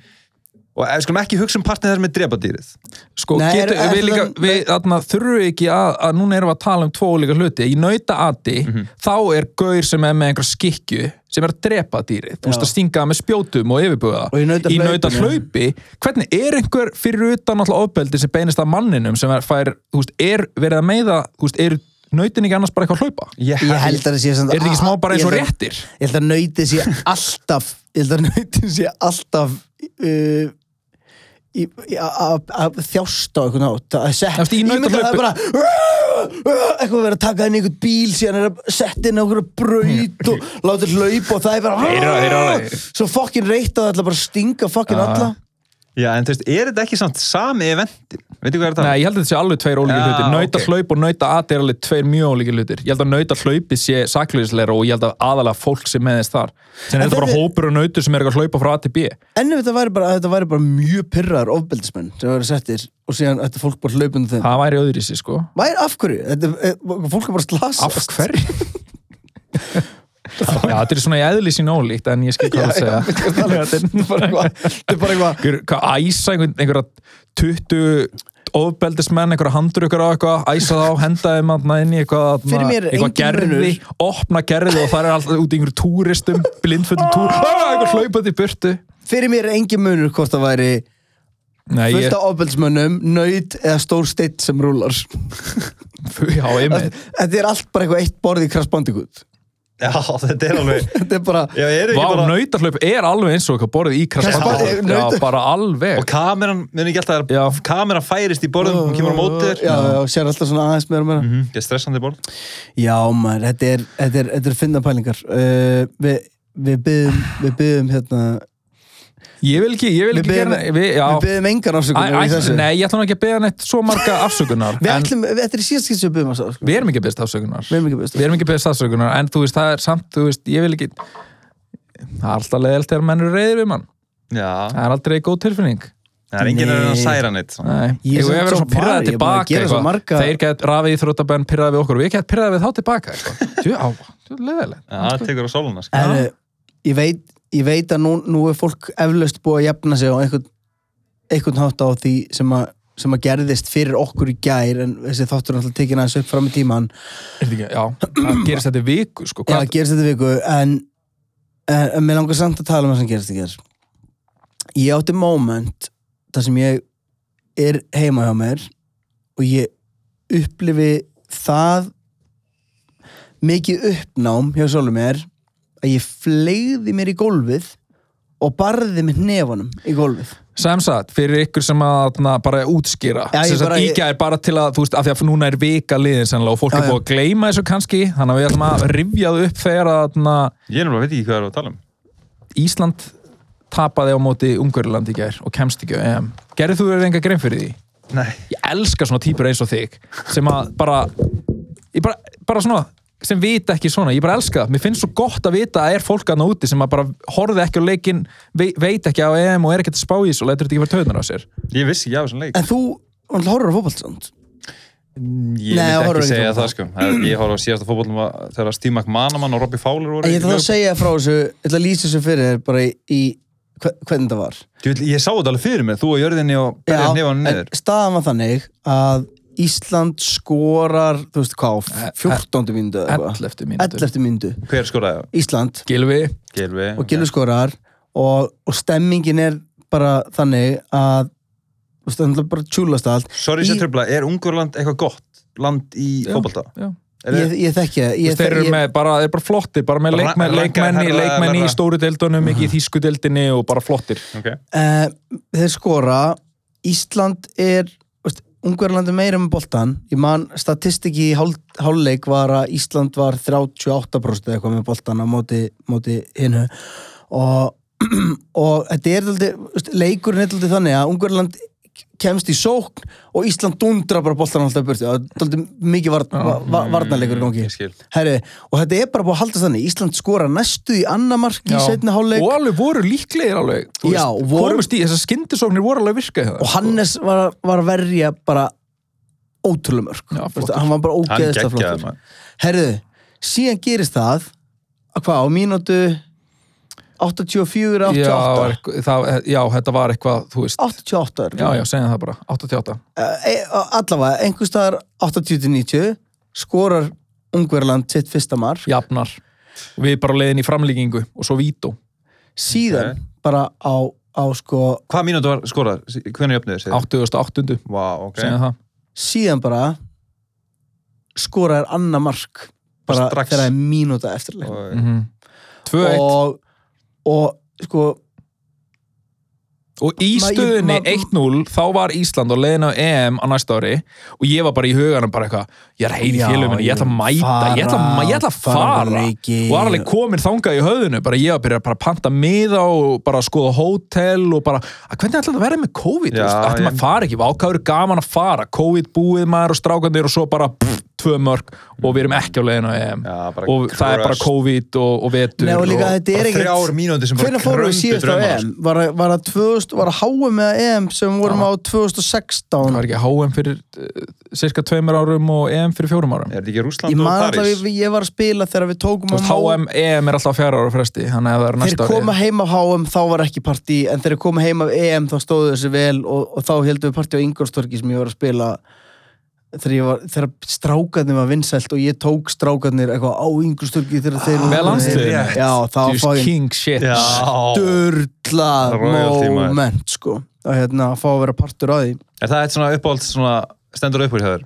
Speaker 3: og ef við skulum ekki hugsa um partnið þar með drepa dýrið
Speaker 2: sko
Speaker 1: Nei,
Speaker 2: getur,
Speaker 1: er- er
Speaker 2: við
Speaker 1: það-
Speaker 2: líka, við þarna þurfum við ekki að, að núna erum við að tala um tvo líka hluti, í nautaati þá er gaur sem er með einhver skikju sem er að drepa dýrið, þú veist
Speaker 1: Já.
Speaker 2: að stinga það með spjótum og yfirbuga
Speaker 1: Og í nautahlaupinu.
Speaker 2: nautahlaupi, hvernig er einhver fyrir utan alltaf ofbeldi sem beinist að manninum sem er, fær, þú veist, er verið að meiða þú veist, er nautin ekki annars bara eitthvað að hlaupa
Speaker 1: Ég held að það sé samt- Ah,
Speaker 2: er þetta ekki smá bara eins og
Speaker 1: Ég held-
Speaker 2: réttir
Speaker 1: ég held að nöytið sé alltaf ég held að nöytið sé alltaf uh, í- í- að- að að þjásta á einhvern hátt að sett,
Speaker 2: Eftir í
Speaker 1: myndi að það er bara eitthvað verið að taka inn í einhvern bíl síðan er að setja inn á einhverju braut og láta hlaupa og það er bara
Speaker 2: Þeir eru- þeir eru alveg-
Speaker 1: svo fokkin reyta það ætla bara að stinga
Speaker 2: Ah.
Speaker 1: fokkin alla
Speaker 3: Já, en þú veist, er þetta ekki samt sami eventin? Veitu hvað er það?
Speaker 2: Nei, ég held að þetta sé alveg tveir ólíkir
Speaker 3: Já,
Speaker 2: hlutir Nauta
Speaker 3: ok.
Speaker 2: hlaup og nauta at er alveg tveir mjög ólíkir hlutir Ég held að nauta hlaupi sé saklýsleira og ég held að aðalega fólk sem meðist þar Sen
Speaker 1: En
Speaker 2: er þetta bara
Speaker 1: þetta-
Speaker 2: hópur og nautur sem er eitthvað að hlaupa frá A til B
Speaker 1: en ef þetta væri bara, þetta væri bara mjög pyrraður ofbeldismenn sem verið settir og síðan ætti fólk bara hlaupinu þeim
Speaker 2: Það væri öðru í sig sko
Speaker 1: Væri, af hverju? Þetta, eh, fólk er bara slasast
Speaker 2: Af hverju? Já, þetta er svona í eðli sín ólíkt en ég skil hvað að segja
Speaker 1: Þetta er- þetta
Speaker 2: (laughs)
Speaker 1: er (laughs) bara eitthvað- þetta er bara eitthvað
Speaker 2: Einhver- Hvað æsa einhver- einhverja 20 ofbeldismenn, einhverja handur ykkur á eitthvað, æsa þá, henda þeim þarna inn í eitthvað,
Speaker 1: Fyrir
Speaker 2: þarna-
Speaker 1: mér er
Speaker 2: eitthvað
Speaker 1: enginn
Speaker 2: gerði,
Speaker 1: munur.
Speaker 2: opna gerði og það er alltaf út í einhverju túristum, blindfullum túr, ah, eitthvað hlaupandi í burtu.
Speaker 1: fyrir mér er engin munur hvort það væri
Speaker 2: Nei, ég,
Speaker 1: fullt af ofbeldsmönnum, nöyt eða stór steitt sem rúlar
Speaker 2: (laughs) já, einmitt.
Speaker 1: þetta er allt bara eitthvað eitt borð í Crash Bandicoot (laughs)
Speaker 3: Já, þetta er alveg
Speaker 1: þetta er bara
Speaker 3: Já, er ekki
Speaker 2: Vá,
Speaker 3: bara...
Speaker 2: nautahlaup er alveg eins og eitthvað borðið í
Speaker 1: Kast-
Speaker 2: kraspandi. Já,
Speaker 1: nauta-
Speaker 2: bara alveg.
Speaker 3: Og kameran, muni ekki alltaf
Speaker 2: Já.
Speaker 3: að kameran færist í borðum, hún kemur á móti þér
Speaker 1: já, já, sér alltaf svona aðeins meira og
Speaker 2: Mm.
Speaker 1: meira
Speaker 3: Mhm, Ég er stressandi borð
Speaker 1: já maður, þetta er, þetta er, þetta er finna pælingar uh, við, við byggum við byggum hérna
Speaker 2: Ég vil ekki, ég vil
Speaker 1: við
Speaker 2: ekki gera...
Speaker 1: biðjum-
Speaker 2: við- já.
Speaker 1: við byggum engan
Speaker 2: Æ,
Speaker 1: ásökunar í
Speaker 2: æ,
Speaker 1: þessu
Speaker 2: Nei, ég ætlum ekki að beða neitt svo marga afsökunar.
Speaker 1: við
Speaker 2: en-
Speaker 1: ætlum, við- þetta er í síðast skil sem við byggum ásökunar
Speaker 2: við erum ekki að beðast afsökunar
Speaker 1: Við erum ekki að biðjast
Speaker 2: Við erum ekki að beðast afsökunar en þú veist, það er samt, þú veist, ég vil ekki það er alltaf leiðilt þegar menn eru reyðir við mann
Speaker 3: Já,
Speaker 2: það er aldrei góð tilfinning
Speaker 3: það er enginn að reyna að
Speaker 1: Nei.
Speaker 3: særa neitt svona.
Speaker 2: Nei,
Speaker 1: Ég er
Speaker 2: ég
Speaker 1: samt
Speaker 2: hef verið
Speaker 1: svo
Speaker 2: svo
Speaker 1: var,
Speaker 2: pyrraði
Speaker 1: ég er búin að
Speaker 2: tilbaka
Speaker 1: gera svo marga-
Speaker 2: þeir gætt rafið í þróttabenn pyrraði við okkur og við gætt pyrraði við þá tilbaka eitthvað.
Speaker 1: (laughs)
Speaker 2: Djú, á, djú, leiðilegt
Speaker 3: Já, það tekur á sóluna sko.
Speaker 1: En eh, ég veit, ég veit að nú, nú er fólk eflaust búið að jafna sig á einhvern, einhvern hátt á því sem að, sem að gerðist fyrir okkur í gær en þessi þáttur er alltaf tekin aðeins upp fram í tíman
Speaker 2: Er þetta ekki- Já, það gerist þetta í viku sko,
Speaker 1: hvað
Speaker 2: hvað,
Speaker 1: það gerist þetta viku en, en, en mér langar samt að tala um það sem gerist í gær ég átti moment þar sem ég er heima hjá mér og ég upplifi það mikið uppnám hjá sjálfum mér að ég fleigði mér í gólfið og barði með hnefunum í gólfið
Speaker 2: sem sagt, fyrir ykkur sem að na, bara útskýra
Speaker 1: Já, ég
Speaker 2: sem sagt,
Speaker 1: bara- ég-
Speaker 2: ígja er bara til að, þú veist, af því að núna er vika liðin sennilega og fólk
Speaker 1: Já,
Speaker 2: er búið að gleyma þessu kannski þannig að við ætlum að rifja þau upp þegar að na,
Speaker 3: Ég er náttúrulega veit ekki hvað það er að tala um
Speaker 2: Ísland tapaði á móti Ungurland í gær og kemst ekki á EM. Gerðu þú verið enga grein fyrir því?
Speaker 3: Nei.
Speaker 2: Ég elska svona típur eins og þig sem að bara, ég bara, bara svona sem vita ekki svona, ég bara elska það mér finnst svo gott að vita að er fólk aðna úti sem að bara horfið ekki á leikin vei- veit ekki á EM og er ekkert að spá í þessu og lætur þetta ekki vera töðnar á sér
Speaker 3: Ég vissi ekki af þessum leik.
Speaker 1: En þú, hann horfður á fótboltsand
Speaker 3: Ég
Speaker 1: Nei,
Speaker 3: myndi
Speaker 1: horfir
Speaker 3: ekki
Speaker 1: ekki
Speaker 3: segja
Speaker 1: á
Speaker 3: það, sko. Það er- Ég horfði á síðasta fótbollum að- þegar að Steve McManaman og Robbie Fowler voru.
Speaker 1: En ég
Speaker 3: í
Speaker 1: ætla það að
Speaker 3: lögum.
Speaker 1: segja frá þessu, ég ætla að lýsa þessu fyrir þér bara í, í hve- hvernig það var
Speaker 3: Djöfull, Ég sá þetta alveg fyrir mig, þú og Jörðinni og berðið nefann niður.
Speaker 1: staðan var þannig að Ísland skorar, þú veist hvað, á 14. mínútu eða eitthvað
Speaker 2: 11. mínútur
Speaker 1: 11. mínútu,
Speaker 3: Hver skoraði það?
Speaker 1: Ísland
Speaker 2: Gilvi,
Speaker 3: Gilvi.
Speaker 1: og Gilvi skorar og, og stemmingin er bara þannig að þú veist, það er bara tjúlast allt
Speaker 3: Sorry,
Speaker 1: Í-
Speaker 3: sér tröfla, er Ungurland eitthvað gott land í
Speaker 2: Já.
Speaker 3: fótbolta?
Speaker 2: já
Speaker 3: Er
Speaker 1: ég,
Speaker 3: það-
Speaker 1: ég þekki það ég,
Speaker 2: Þeir eru
Speaker 1: ég,
Speaker 2: með, bara, þeir eru bara flottir, bara með
Speaker 3: Bara
Speaker 2: leikmenn,
Speaker 3: ranka-
Speaker 2: leikmenn, í-
Speaker 3: herra-
Speaker 2: leikmenn í
Speaker 3: herra-
Speaker 2: stóru deildunum, ekki í þýsku deildinni og bara flottir.
Speaker 3: Ok.
Speaker 1: Eh, þeir skora Ísland er Ungverðland er meira með boltan ég man statistiki í hál, hálfleik var að Ísland var 38% eða eitthvað með boltan á móti, móti hinnu og, (clears throat) og þetta er aldrei, leikurinn er aldrei þannig að Ungverðland kemst í sókn og Ísland dundra bara boltan alltaf burti það er aldrei mikið var, var, varnarleikur í gangi
Speaker 3: Ég skil.
Speaker 1: Herri, og þetta er bara búið að halda þannig Ísland skora næstu í annar marki í setna hálfleik
Speaker 2: Og alveg voru líklegir alveg. þú
Speaker 1: Já,
Speaker 2: veist,
Speaker 1: voru-
Speaker 2: Komust í, þessar skyndisóknir voru alveg virkað.
Speaker 1: og Hannes var, var að verja bara ótrúlega mörg
Speaker 2: Já, flottur.
Speaker 1: Veistu, hann var bara
Speaker 3: Hann
Speaker 1: ógeðislega
Speaker 3: geggjaði
Speaker 1: flottur
Speaker 3: maður.
Speaker 1: herðu, síðan gerist það að hvað, á mínútu 84,
Speaker 2: já,
Speaker 1: 88
Speaker 2: var eitthvað- það, já, þetta var eitthvað, þú veist.
Speaker 1: 88
Speaker 2: Já, já, segja það bara, 88.
Speaker 1: Eh, eh, allavega, einhvers staðar 80-90 skorar Ungverland sitt fyrsta mark
Speaker 2: Jafnar. Og Við bara leiðin í framlíkingu og svo vító.
Speaker 1: síðan bara á, á sko,
Speaker 3: Hvað mínútu var skorað? Hvernig jöfnuður segir?
Speaker 2: 88.
Speaker 3: Vá, ok.
Speaker 2: Segja það.
Speaker 1: síðan bara skorar annar mark bara
Speaker 3: Strax.
Speaker 1: þegar það er mínúta eftirleik
Speaker 3: Og-
Speaker 2: Mhm. 2-1 og,
Speaker 1: og, og sko
Speaker 2: í
Speaker 1: Ma- ég-
Speaker 2: stöðunni
Speaker 1: ma-
Speaker 2: 1-0 þá var Ísland og leiðin á EM á næsta ári og ég var bara í huganum bara eitthvað ég er heil í
Speaker 1: Já,
Speaker 2: félum minni, ég ætla að mæta ég ætla að, ma- ég ætla að fara,
Speaker 1: á leiki.
Speaker 2: og var alveg komin þangað í höfðinu bara ég var að byrja bara að panta miða og bara að skoða hótel og bara að hvernig ætla þetta að vera með COVID
Speaker 3: Já,
Speaker 2: ætla maður
Speaker 3: ég-
Speaker 2: að fara ekki, vákaður gaman að fara COVID búið maður og strákandir og svo bara pff, tvö mörg og við erum ekki á leiðin á EM
Speaker 3: Já, bara
Speaker 2: og það er bara
Speaker 3: crushed.
Speaker 2: COVID og, og vetur
Speaker 1: Nei, og líka
Speaker 2: og,
Speaker 1: þetta er
Speaker 3: bara
Speaker 1: ekkert-
Speaker 3: þrjár mínútur sem bara
Speaker 1: Hvenær fórum við
Speaker 3: krömdu
Speaker 1: síðast á
Speaker 3: draumana,
Speaker 1: EM? Var, var það 2000, var að HM eða EM sem vorum á 2016?
Speaker 2: var ekki HM fyrir uh, cirka tveimur árum og EM fyrir fjórum árum
Speaker 3: Er þetta ekki Rúsland
Speaker 1: Ég
Speaker 3: og
Speaker 1: man alltaf,
Speaker 3: París?
Speaker 1: ég, ég var að spila þegar við tókum
Speaker 2: Þú veist, HM, EM er alltaf fjara ára fresti þannig að það er
Speaker 1: Þeir
Speaker 2: næsta
Speaker 1: koma heim af HM, þá var ekki partí, en þeir koma heim af EM, þá stóðu þessu vel og, og þá heldum við partí á Ingolstorki sem ég var að spila þegar, ég var, þegar strákarnir var vinsælt og ég tók strákarnir eitthvað á Ingolstorki þegar þeir
Speaker 2: Með
Speaker 1: voru-
Speaker 2: landsliðinu?
Speaker 1: Já, þá
Speaker 2: ári
Speaker 1: fá
Speaker 2: Just king shit
Speaker 3: Já.
Speaker 1: sturlað
Speaker 3: Royalty, maður.
Speaker 1: moment sko að hérna að fá að vera partur á því
Speaker 3: Er það eitt svona uppáhald svona stendur upp úr hjá þér?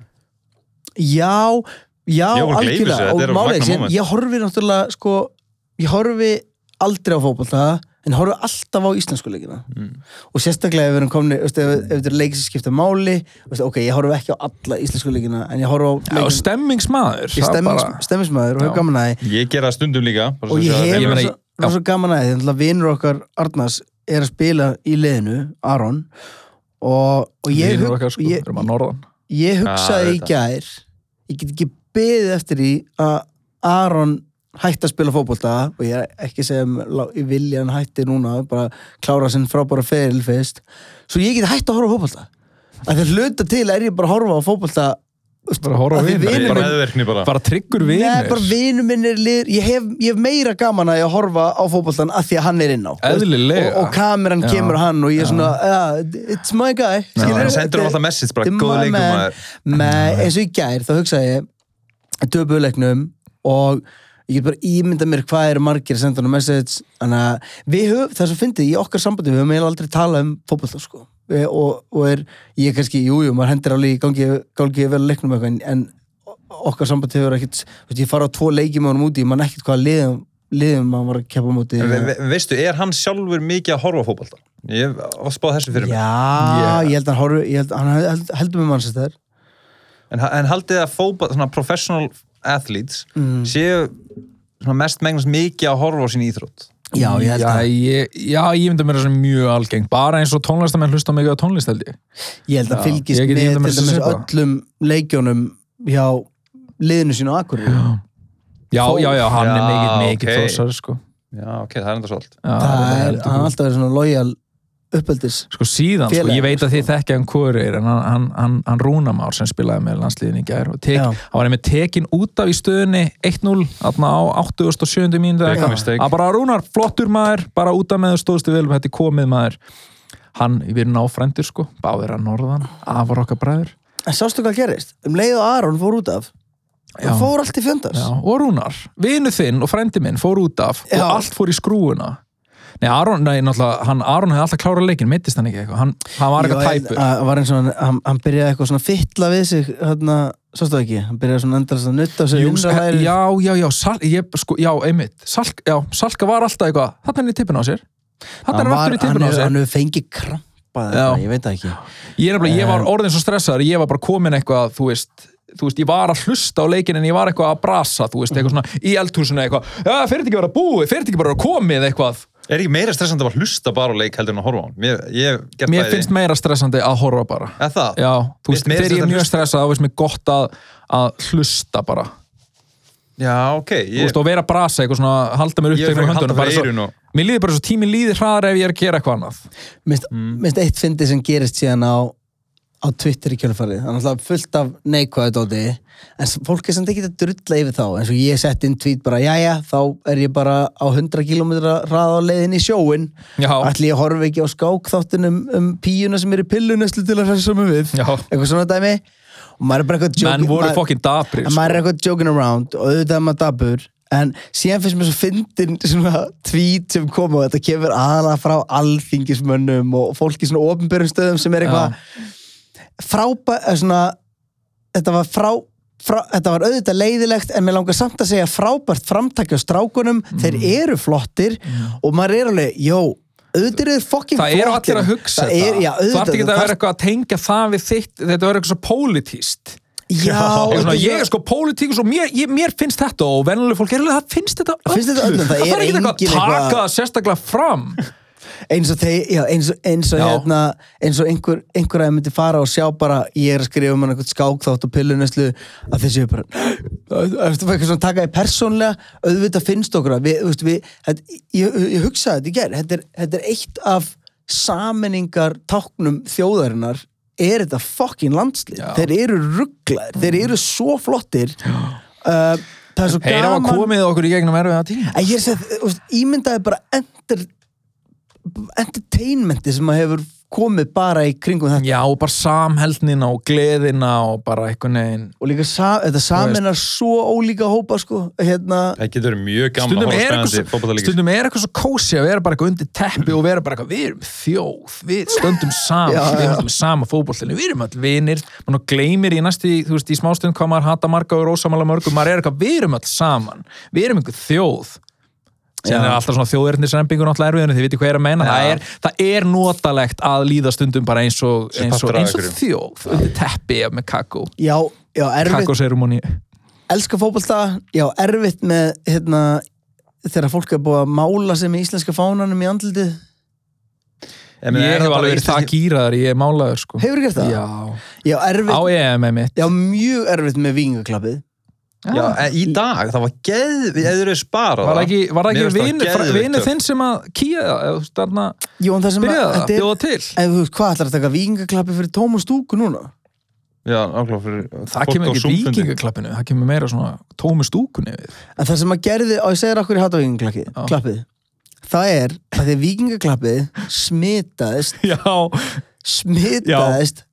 Speaker 1: já, já,
Speaker 3: Ég var að gleyma þessu,
Speaker 1: algjörlega
Speaker 3: þetta er
Speaker 1: og
Speaker 3: magnað
Speaker 1: málega sem
Speaker 3: moment.
Speaker 1: ég horfi náttúrulega sko, ég horfi aldrei á fótbolta en horfi alltaf á íslensku leikina
Speaker 3: Mm.
Speaker 1: og sérstaklega ef við erum komni veist, ef, ef þetta er leikið sem skipta máli veist, ok, ég horfi ekki á alla íslensku leikina en ég horfi á
Speaker 2: Já,
Speaker 1: leikin,
Speaker 2: stemmingsmaður
Speaker 1: ég
Speaker 2: það er
Speaker 1: stemmings,
Speaker 2: bara-
Speaker 1: stemmingsmaður og
Speaker 2: Já.
Speaker 1: hef gaman að því
Speaker 3: Ég gera það stundum líka. bara svo
Speaker 1: og
Speaker 3: sé
Speaker 1: ég
Speaker 3: það
Speaker 1: hef
Speaker 2: Ég
Speaker 3: þeim.
Speaker 2: meina,
Speaker 1: rosa, rosa gaman að því þannig að vinur okkar Arnars er að spila í liðinu, Aron og, og ég,
Speaker 2: Vinur
Speaker 1: hug-
Speaker 2: okkar, sko,
Speaker 1: ég,
Speaker 2: erum að norðan
Speaker 1: ég
Speaker 3: Ah,
Speaker 1: hugsaði í
Speaker 3: auðvitað.
Speaker 1: gær ég get ekki beðið eftir því að Aron hætti að spila fótbolta og ég er ekki að segja um lá- ég vilja hann hætti núna bara klára sinn frábæra feril fyrst svo ég get hætt að horfa á fótbolta að þegar hluta til er ég bara að horfa á fótbolta
Speaker 2: Bara að horfa á
Speaker 1: Af því
Speaker 2: vini.
Speaker 1: vinur
Speaker 3: Bara
Speaker 1: minn-
Speaker 3: meðverkni bara.
Speaker 2: bara tryggur
Speaker 1: Nei, bara
Speaker 2: vinur
Speaker 1: vinur minn er liður ég hef, ég hef meira gaman að ég að horfa á fótboltan að því að hann er inn á
Speaker 2: Eðlilega.
Speaker 1: og, og kameran
Speaker 2: Já.
Speaker 1: kemur á hann og ég er svona "Ah, it's my guy
Speaker 3: Hann sendur hann alltaf message bara,
Speaker 1: Dimma
Speaker 3: góð leikum
Speaker 1: menn.
Speaker 3: maður.
Speaker 1: með eins og í gær þá hugsaði ég döpuleiknum og ég get bara ímynda mér hvað eru margir að senda hann message þannig að við höfum, það er svo fyndið í okkar sambandi, við höfum eiginlega aldrei talað um fótbolta sko Við- og, og er, ég kannski, jújú, jú, maður hendur alveg í gangi, gangi vel að leiknum eitthvað en, en o- okkar sambandi hefur ekkit þú veist, ég fara á tvo leiki með honum úti, ég man ekkit hvað liðum, liðum maður var að keppa á móti
Speaker 3: En ve- ve- Veistu, er hann sjálfur mikið að horfa á fótbolta? Ég hef oft spáð þessu fyrir mig.
Speaker 1: Já, ég held að hann horfi, ég held, hann held, heldur með mann sér þær
Speaker 3: En, ha- en haldið að fótbolta, svona Mm.
Speaker 2: Mm.
Speaker 3: professional athletes, séu svona mest megnast mikið að horfa á sín íþrótt?
Speaker 1: Já, ég held
Speaker 2: já,
Speaker 1: að,
Speaker 2: ég, já, ég myndi mér þessi mjög algengt bara eins og tónlistamenn hlusta mikið á tónlist held ég
Speaker 1: ég held að
Speaker 2: Já,
Speaker 1: fylgist
Speaker 2: ég get
Speaker 1: með
Speaker 2: ímyndað
Speaker 1: til
Speaker 2: mér þessi
Speaker 1: dæmis
Speaker 2: svipað.
Speaker 1: öllum leikjónum hjá liðinu sínu á Akureyri.
Speaker 2: já, já, já, hann er
Speaker 3: Já,
Speaker 2: mikið, mikið
Speaker 3: ok.
Speaker 2: okay. þósar sko.
Speaker 3: Já, ok, það er enda svolít.
Speaker 2: já,
Speaker 1: Það er,
Speaker 2: heldur
Speaker 1: hann er
Speaker 2: góð.
Speaker 1: alltaf verið svona lojal uppeldis.
Speaker 2: sko síðan, sko,
Speaker 1: Félagar,
Speaker 2: ég veit að þið þekkja hann Kurir en hann, hann, hann, hann Rúnamár sem spilaði með landsliðin í gær og tek,
Speaker 1: Já.
Speaker 2: hann var einmitt tekin út af í stöðunni 1-0 þarna á 87. mínútu eða
Speaker 3: Big
Speaker 2: eitthvað.
Speaker 3: mistake.
Speaker 2: að bara Rúnar, flottur maður bara út af með þú stóðstu vel þetta er komið maður hann, við erum náfrændir sko, báðir að norðan afar okkar bræður
Speaker 1: En sástu hvað gerist? Um leið og Aron fór út af.
Speaker 2: Já.
Speaker 1: Það fór allt í fjöndas.
Speaker 2: Já, og Rúnar, vinu þinn og frendi minn fór út af
Speaker 1: Já.
Speaker 2: og allt fór í skrúuna Nei, Aron, nei, náttúrulega hann, Aron hefði alltaf klárað leikinn, meittist hann ekki eitthvað hann, hann var eitthvað
Speaker 1: Jú, en-
Speaker 2: tæpur
Speaker 1: að- að var eins og hann, hann, hann byrjaði eitthvað svona fytla við sig hérna, sástu það ekki, hann byrjaði svona endast að nutta sig
Speaker 2: Jú,
Speaker 1: vinstra
Speaker 2: he-
Speaker 1: hægri.
Speaker 2: já, já, já, sal, ég, sko, já, einmitt Salk, já, Salka var alltaf eitthvað þarna er hann í tippinu á sér þarna er
Speaker 1: hann
Speaker 2: hann
Speaker 1: var,
Speaker 2: aftur
Speaker 1: hann
Speaker 2: í tippinu á
Speaker 1: hefur
Speaker 2: sér
Speaker 1: hann hefur fengið krampað
Speaker 2: Já.
Speaker 1: eitthvað, ég veit það ekki
Speaker 2: ég, er nefnilega, ég
Speaker 3: Eh.
Speaker 2: var orðin svo stressaður, ég var bara komin eitthvað þú veist, þú veist, ég var að hlusta á leikinn en ég var eitthvað að brasa, þú veist, eitthvað svona í eldhúsinu eitthvað, ja, fyrir þetta ekki að vera búið fyrir þetta ekki bara að vera komið eitthvað
Speaker 3: Er ekki meira stressandi að hlusta bara á leik heldur en að horfa á hann? Mér, ég hef gert
Speaker 2: mér
Speaker 3: bæði.
Speaker 2: finnst meira stressandi að horfa bara
Speaker 3: Er það?
Speaker 2: Já, þú veist,
Speaker 3: Mér-
Speaker 2: þegar
Speaker 3: mér
Speaker 2: ég
Speaker 3: finnst
Speaker 2: er mjög
Speaker 3: þetta-
Speaker 2: stressað þá veist mér gott að, að hlusta bara
Speaker 3: Já, ok.
Speaker 2: Þú
Speaker 3: Ég,
Speaker 2: veist, og vera að brasa eitthvað svona halda mér
Speaker 3: Ég er
Speaker 2: uppteknum
Speaker 3: frekar að halda
Speaker 2: höndunum bara
Speaker 3: fyrir eyrun
Speaker 2: svo,
Speaker 3: og-
Speaker 2: Mér líður bara svo tíminn líður hraðar ef ég er að gera eitthvað annað
Speaker 1: minnst mm. eitt fyndi sem gerist síðan á á Twitter í kjölfarið, hann er alltaf fullt af neikvæðu dóti, en s- fólk er samt ekki að drulla yfir þá, eins og ég sett inn tweet bara, jæja, þá er ég bara á 100 km hraða á leiðin í sjóin
Speaker 2: Já.
Speaker 1: ætli ég horfi ekki á skákþáttin um, um píuna sem er í pillunæslu til að hressa mig við,
Speaker 2: Já.
Speaker 1: eitthvað svona dæmi og maður er bara eitthvað
Speaker 2: Menn
Speaker 1: joking-
Speaker 2: voru
Speaker 1: maður-
Speaker 2: fokkin dabrir
Speaker 1: en
Speaker 2: sko.
Speaker 1: maður er eitthvað joking around og auðvitað er maður dabur en síðan finnst mér svo fyndin svona tweet sem kom og þetta kemur aðalega frá alþingismönnum og fólki í svona ofnbjörnum stöðum sem er eitthvað frábæ, eða svona þetta var frá Frá, þetta var auðvitað leiðilegt en mér langar samt að segja frábært framtækja á strákunum þeir
Speaker 2: Mm.
Speaker 1: eru flottir og maður er alveg, jó, auðvitað eru þeir fokkin
Speaker 2: Það
Speaker 1: flottir
Speaker 2: eru allir að hugsa
Speaker 1: Það er-
Speaker 2: þetta
Speaker 1: já,
Speaker 2: Þú ert
Speaker 1: auðvitað,
Speaker 2: ekki að
Speaker 1: það
Speaker 2: vera eitthvað að tengja það við þitt Þetta verður eitthvað svo pólitíst
Speaker 1: Já,
Speaker 2: Ég,
Speaker 1: þetta
Speaker 2: svona, ég er sko pólitíkus og mér, ég, mér finnst þetta og venjuleg fólk er alveg það finnst þetta öllum
Speaker 1: finnst þetta öllum, það er
Speaker 2: þarf ekki eitthvað
Speaker 1: engin
Speaker 2: að
Speaker 1: eitthvað-
Speaker 2: taka það sérstaklega fram
Speaker 1: eins og þeir, já, eins og, eins og
Speaker 2: Já.
Speaker 1: hérna, eins og einhver, einhver að myndi fara og sjá bara, ég er að skrifa um hann einhvern skákþátt og pilluneslu, að þessi er bara, eftir að eitthvað svona taka því persónlega, auðvitað finnst okkur að við, þú veist, við, þetta, ég, ég hugsaði þetta í gerð, þetta er, þetta er eitt af sammenningar táknum þjóðarinnar, er þetta fucking landslið,
Speaker 2: Já.
Speaker 1: þeir eru rugglaðir, þeir eru svo flottir, uh, það er svo
Speaker 2: Þeir hafa
Speaker 1: gaman
Speaker 2: komið okkur í gegnum erfiða tíma
Speaker 1: En ég er að segja, ímyndaði bara enter, entertainmenti sem að hefur komið bara í kringum þetta
Speaker 2: Já, og bara samheldnina og gleðina og bara einhvern veginn
Speaker 1: og líka sa, þetta saminar svo ólíka hópa sko, hérna
Speaker 3: það getur verið mjög gaman
Speaker 2: Stundum
Speaker 3: að
Speaker 2: er,
Speaker 3: horfa á
Speaker 2: eitthvað
Speaker 3: spennandi
Speaker 2: svo,
Speaker 3: fótballtaleiki.
Speaker 2: stundum er eitthvað svo kósi að vera bara eitthvað undir teppi og vera bara eitthvað, við erum þjóð, við stöndum saman,
Speaker 1: Já, já.
Speaker 2: við erum allir með sama fótbollinu, við erum allir vinir, mann og gleymir í næstu, þú veist, í smástund hvað maður hata marga og er ósamála mörgum, maður er eitthvað, við erum allir saman, við erum einhver þjóð. Sér er alltaf svona þjóðirnisrempingur náttúrulega erfiðinu, þið viti hvað ég er að meina, það er, það er notalegt að líða stundum bara eins og,
Speaker 3: Sem
Speaker 2: eins og,
Speaker 3: partur af
Speaker 2: eins og
Speaker 3: einhverju.
Speaker 2: þjóð, undir teppi með kakó,
Speaker 1: já, já, erfitt,
Speaker 2: kakóserumóni.
Speaker 1: elska fótballta já, erfitt með hérna, þegar fólk er búið að mála sig með íslenska fánanum í andlitið
Speaker 3: Ég meina,
Speaker 2: Ég
Speaker 3: er
Speaker 2: hef
Speaker 3: það bara
Speaker 2: alveg verið það
Speaker 3: íslenski-
Speaker 2: gíraðar, ég er málaður sko.
Speaker 1: hefur gert það?
Speaker 2: Já.
Speaker 1: já, erfitt,
Speaker 2: á EM einmitt
Speaker 1: já mjög erfitt með vingaklappið
Speaker 3: Já, en í dag, það var geð, við eður er sparað
Speaker 2: var það ekki, var það
Speaker 3: Mér finnst
Speaker 2: ekki
Speaker 3: það
Speaker 2: vinur,
Speaker 3: geðveikt
Speaker 2: fra- vinur
Speaker 3: töff.
Speaker 2: þinn sem að kýja það eða þú veist, þarna
Speaker 1: Jó, en það sem að-
Speaker 2: byrjaði það,
Speaker 1: þetta er-
Speaker 2: bjóða til
Speaker 1: en þú veist, hvað ætlar að taka vingaklappið fyrir tóma stúku núna?
Speaker 3: Já, ákláð fyrir
Speaker 2: það kemur ekki vikingaklappinu, það kemur meira svona tómi stúkunni við
Speaker 1: En það sem að gerði, og ég segir okkur í
Speaker 2: Já.
Speaker 1: hatavíkingaklappið Það er að því að vikingaklappið smitaðist
Speaker 2: já,
Speaker 1: smitaðist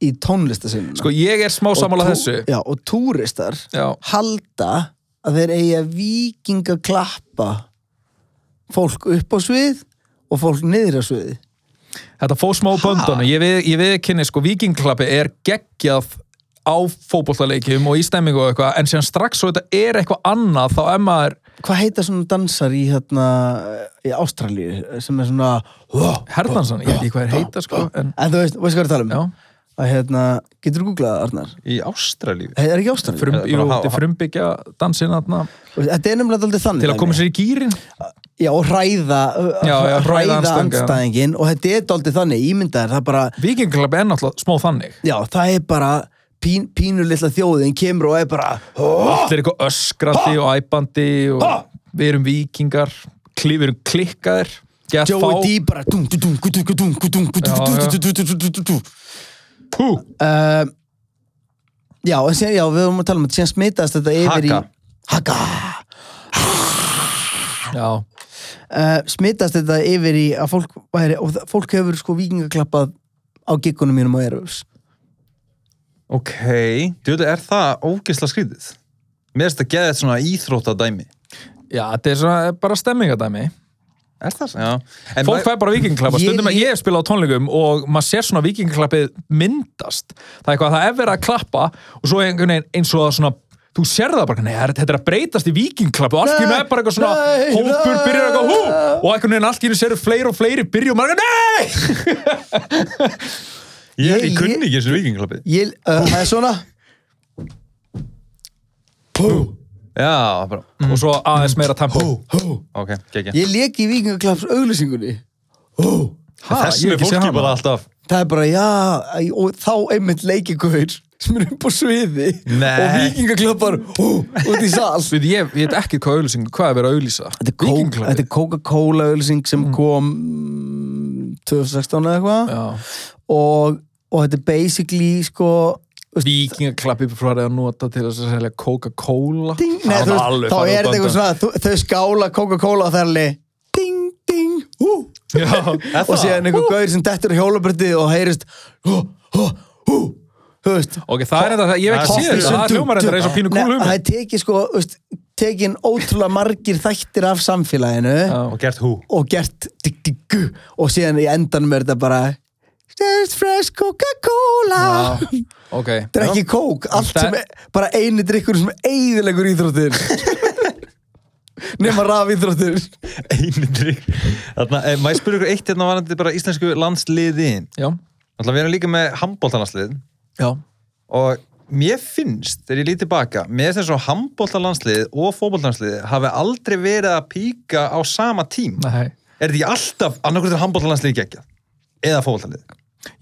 Speaker 1: í tónlistasinna
Speaker 2: sko ég er smá sammála þessu
Speaker 1: Já, og túristar
Speaker 2: já,
Speaker 1: halda að þeir eigi að vikingaklappa fólk upp á svið og fólk niður á svið
Speaker 2: þetta fóð smá böndunum ég, við, ég viðkynni sko vikingklappi er geggjað á fótbollaleikjum og í stemmingu og eitthvað en síðan strax svo þetta er eitthvað annað þá er maður
Speaker 1: Hvað heita svona dansar í hérna í Ástralíu sem er svona
Speaker 2: Herðansson, ég veit ekki hvað er heita sko en,
Speaker 1: En þú veist, veist hvað er að tala um?
Speaker 2: já,
Speaker 1: Að hérna, getur þú googlað það, Arnar?
Speaker 3: Í Ástralíu
Speaker 1: Það er ekki Ástralíu?
Speaker 2: frum,
Speaker 3: Eða bara
Speaker 2: jú,
Speaker 3: hafa-
Speaker 2: þetta er frumbyggja dansin þarna
Speaker 1: Þetta er nefnilega aldrei þannig
Speaker 2: til að koma sér í gýrin
Speaker 1: já, og hræða,
Speaker 2: Já, já, hræða
Speaker 1: hræða
Speaker 2: andstæðinga.
Speaker 1: andstæðingin og þetta er daldið þannig, ímyndaðir, það er bara
Speaker 2: Víkinglöp er náttúrulega smá þannig
Speaker 1: já, það er bara pín, pínur litla þjóðin kemur og er bara
Speaker 2: Allir er eitthvað öskrandi og æpandi og við erum víkingar klí, við erum klikkaðir get
Speaker 1: Joey D bara dung, dung, dung, dung, dung, dung, dung, dung,
Speaker 2: Já, já.
Speaker 1: dung, dung, dung, dung, dung, dung.
Speaker 2: Hú,
Speaker 1: Ehm, já, en síðan- já, við vorum að tala um þetta síðan smitaðist þetta yfir
Speaker 3: Haka.
Speaker 1: í Haka
Speaker 2: já,
Speaker 1: uh, smitast þetta yfir í að fólk, væri, og það- fólk hefur sko vikingaklappað á giggunum mínum á Erfus
Speaker 3: Ok, djúlega er það ógisla skrítið. Mér finnst að geða þetta svona íþróttadæmi.
Speaker 2: já, þetta er svona eh, bara stemmingadæmi
Speaker 3: Er það svona? Já. En
Speaker 2: Fólk
Speaker 3: maður-
Speaker 2: fær bara vikingklappa,
Speaker 1: Ég-
Speaker 2: stundum að ég hef spilað á tónleikum og maður sér svona vikingklappið myndast. Það er eitthvað, það er verið að klappa og svo einhvern veginn eins og það svona, þú sér það bara, nei, það er- þetta er að breytast í vikingklappi og allt í hennu
Speaker 1: Nei,
Speaker 2: er bara eitthvað svona,
Speaker 1: nei,
Speaker 2: hópur
Speaker 1: nei.
Speaker 2: byrjar eitthvað, hú, og einhvern veginn allt í hennu sér fleiri og fleiri byrja og maður, er eitthvað, nei!
Speaker 3: Ég, ég,
Speaker 1: Ég-
Speaker 3: kunni ekki þessu vikingklappi.
Speaker 1: ég, uh, það er svona
Speaker 3: Já, bara, mm,
Speaker 2: Og svo aðeins meira tempo.
Speaker 3: ok, geggja.
Speaker 1: ég leki í vikingaklapps auglýsingunni
Speaker 2: Ha,
Speaker 3: Þessu
Speaker 2: ég
Speaker 3: er
Speaker 2: hef ekki séð
Speaker 3: fólki
Speaker 2: hana.
Speaker 3: bara alltaf.
Speaker 1: það er bara já æ, og þá einmitt leikikuður sem er upp á sviði
Speaker 3: Nei.
Speaker 1: og vikingaklappar hú, út í sal
Speaker 2: Við, ég, ég veit ekki hvað auðlýsing, hvað er verið að auðlýsa.
Speaker 1: þetta er, kók, þetta er Coca-Cola auglýsing sem kom mm, 2016 eða eitthvað
Speaker 2: Já,
Speaker 1: og, og þetta er basically sko
Speaker 2: vikingaklappi frá að nota til þess að selja Coca-Cola.
Speaker 1: ding, nei,
Speaker 2: Það
Speaker 1: þú
Speaker 2: var
Speaker 1: veist,
Speaker 2: alveg
Speaker 1: þá er
Speaker 2: farið úr
Speaker 1: þetta eitthvað
Speaker 2: böndunum.
Speaker 1: svona þú- þau skála Coca-Cola og það er alveg ding, ding, hú
Speaker 2: Já,
Speaker 1: og síðan einhver gaur sem dettur á hjólabrætti og heyrist hú, hú, hú þú veist
Speaker 2: (laughs) Ok, það er þetta, ég hef ekki séð
Speaker 3: Það
Speaker 2: þetta, það
Speaker 1: Hoppinson,
Speaker 2: hljómar þetta eins og pínu
Speaker 1: Nei,
Speaker 2: kúlu
Speaker 1: það er tekið sko þú veist, tekin ótrúlega margir þættir af samfélaginu
Speaker 3: Og gert hú.
Speaker 1: og gert dig, dig, gu, og síðan í endanum er þetta bara There's fresh Coca-Cola
Speaker 2: Ok,
Speaker 1: Þetta er ekki kók, allt
Speaker 2: Það-
Speaker 1: sem er, bara eini drikkur sem er eigðilegur
Speaker 2: (laughs)
Speaker 1: íþróttir nema raf íþróttir
Speaker 3: Einu drikk. Þarna, eh, maður spyrir ykkur eitt hérna varandi bara íslensku landsliðin.
Speaker 2: já,
Speaker 3: Þannig við erum líka með handbóltalandsliðin.
Speaker 2: já
Speaker 3: og mér finnst, þegar ég líti tilbaka mér finnst þess að handbóltalandsliðið og fótbóltalandsliðið hafi aldrei verið að píka á sama tím
Speaker 2: Nei,
Speaker 3: er þetta ekki alltaf annarkvæmt er handbóltalandsliðið geggjað eða fótbóltalandsliðið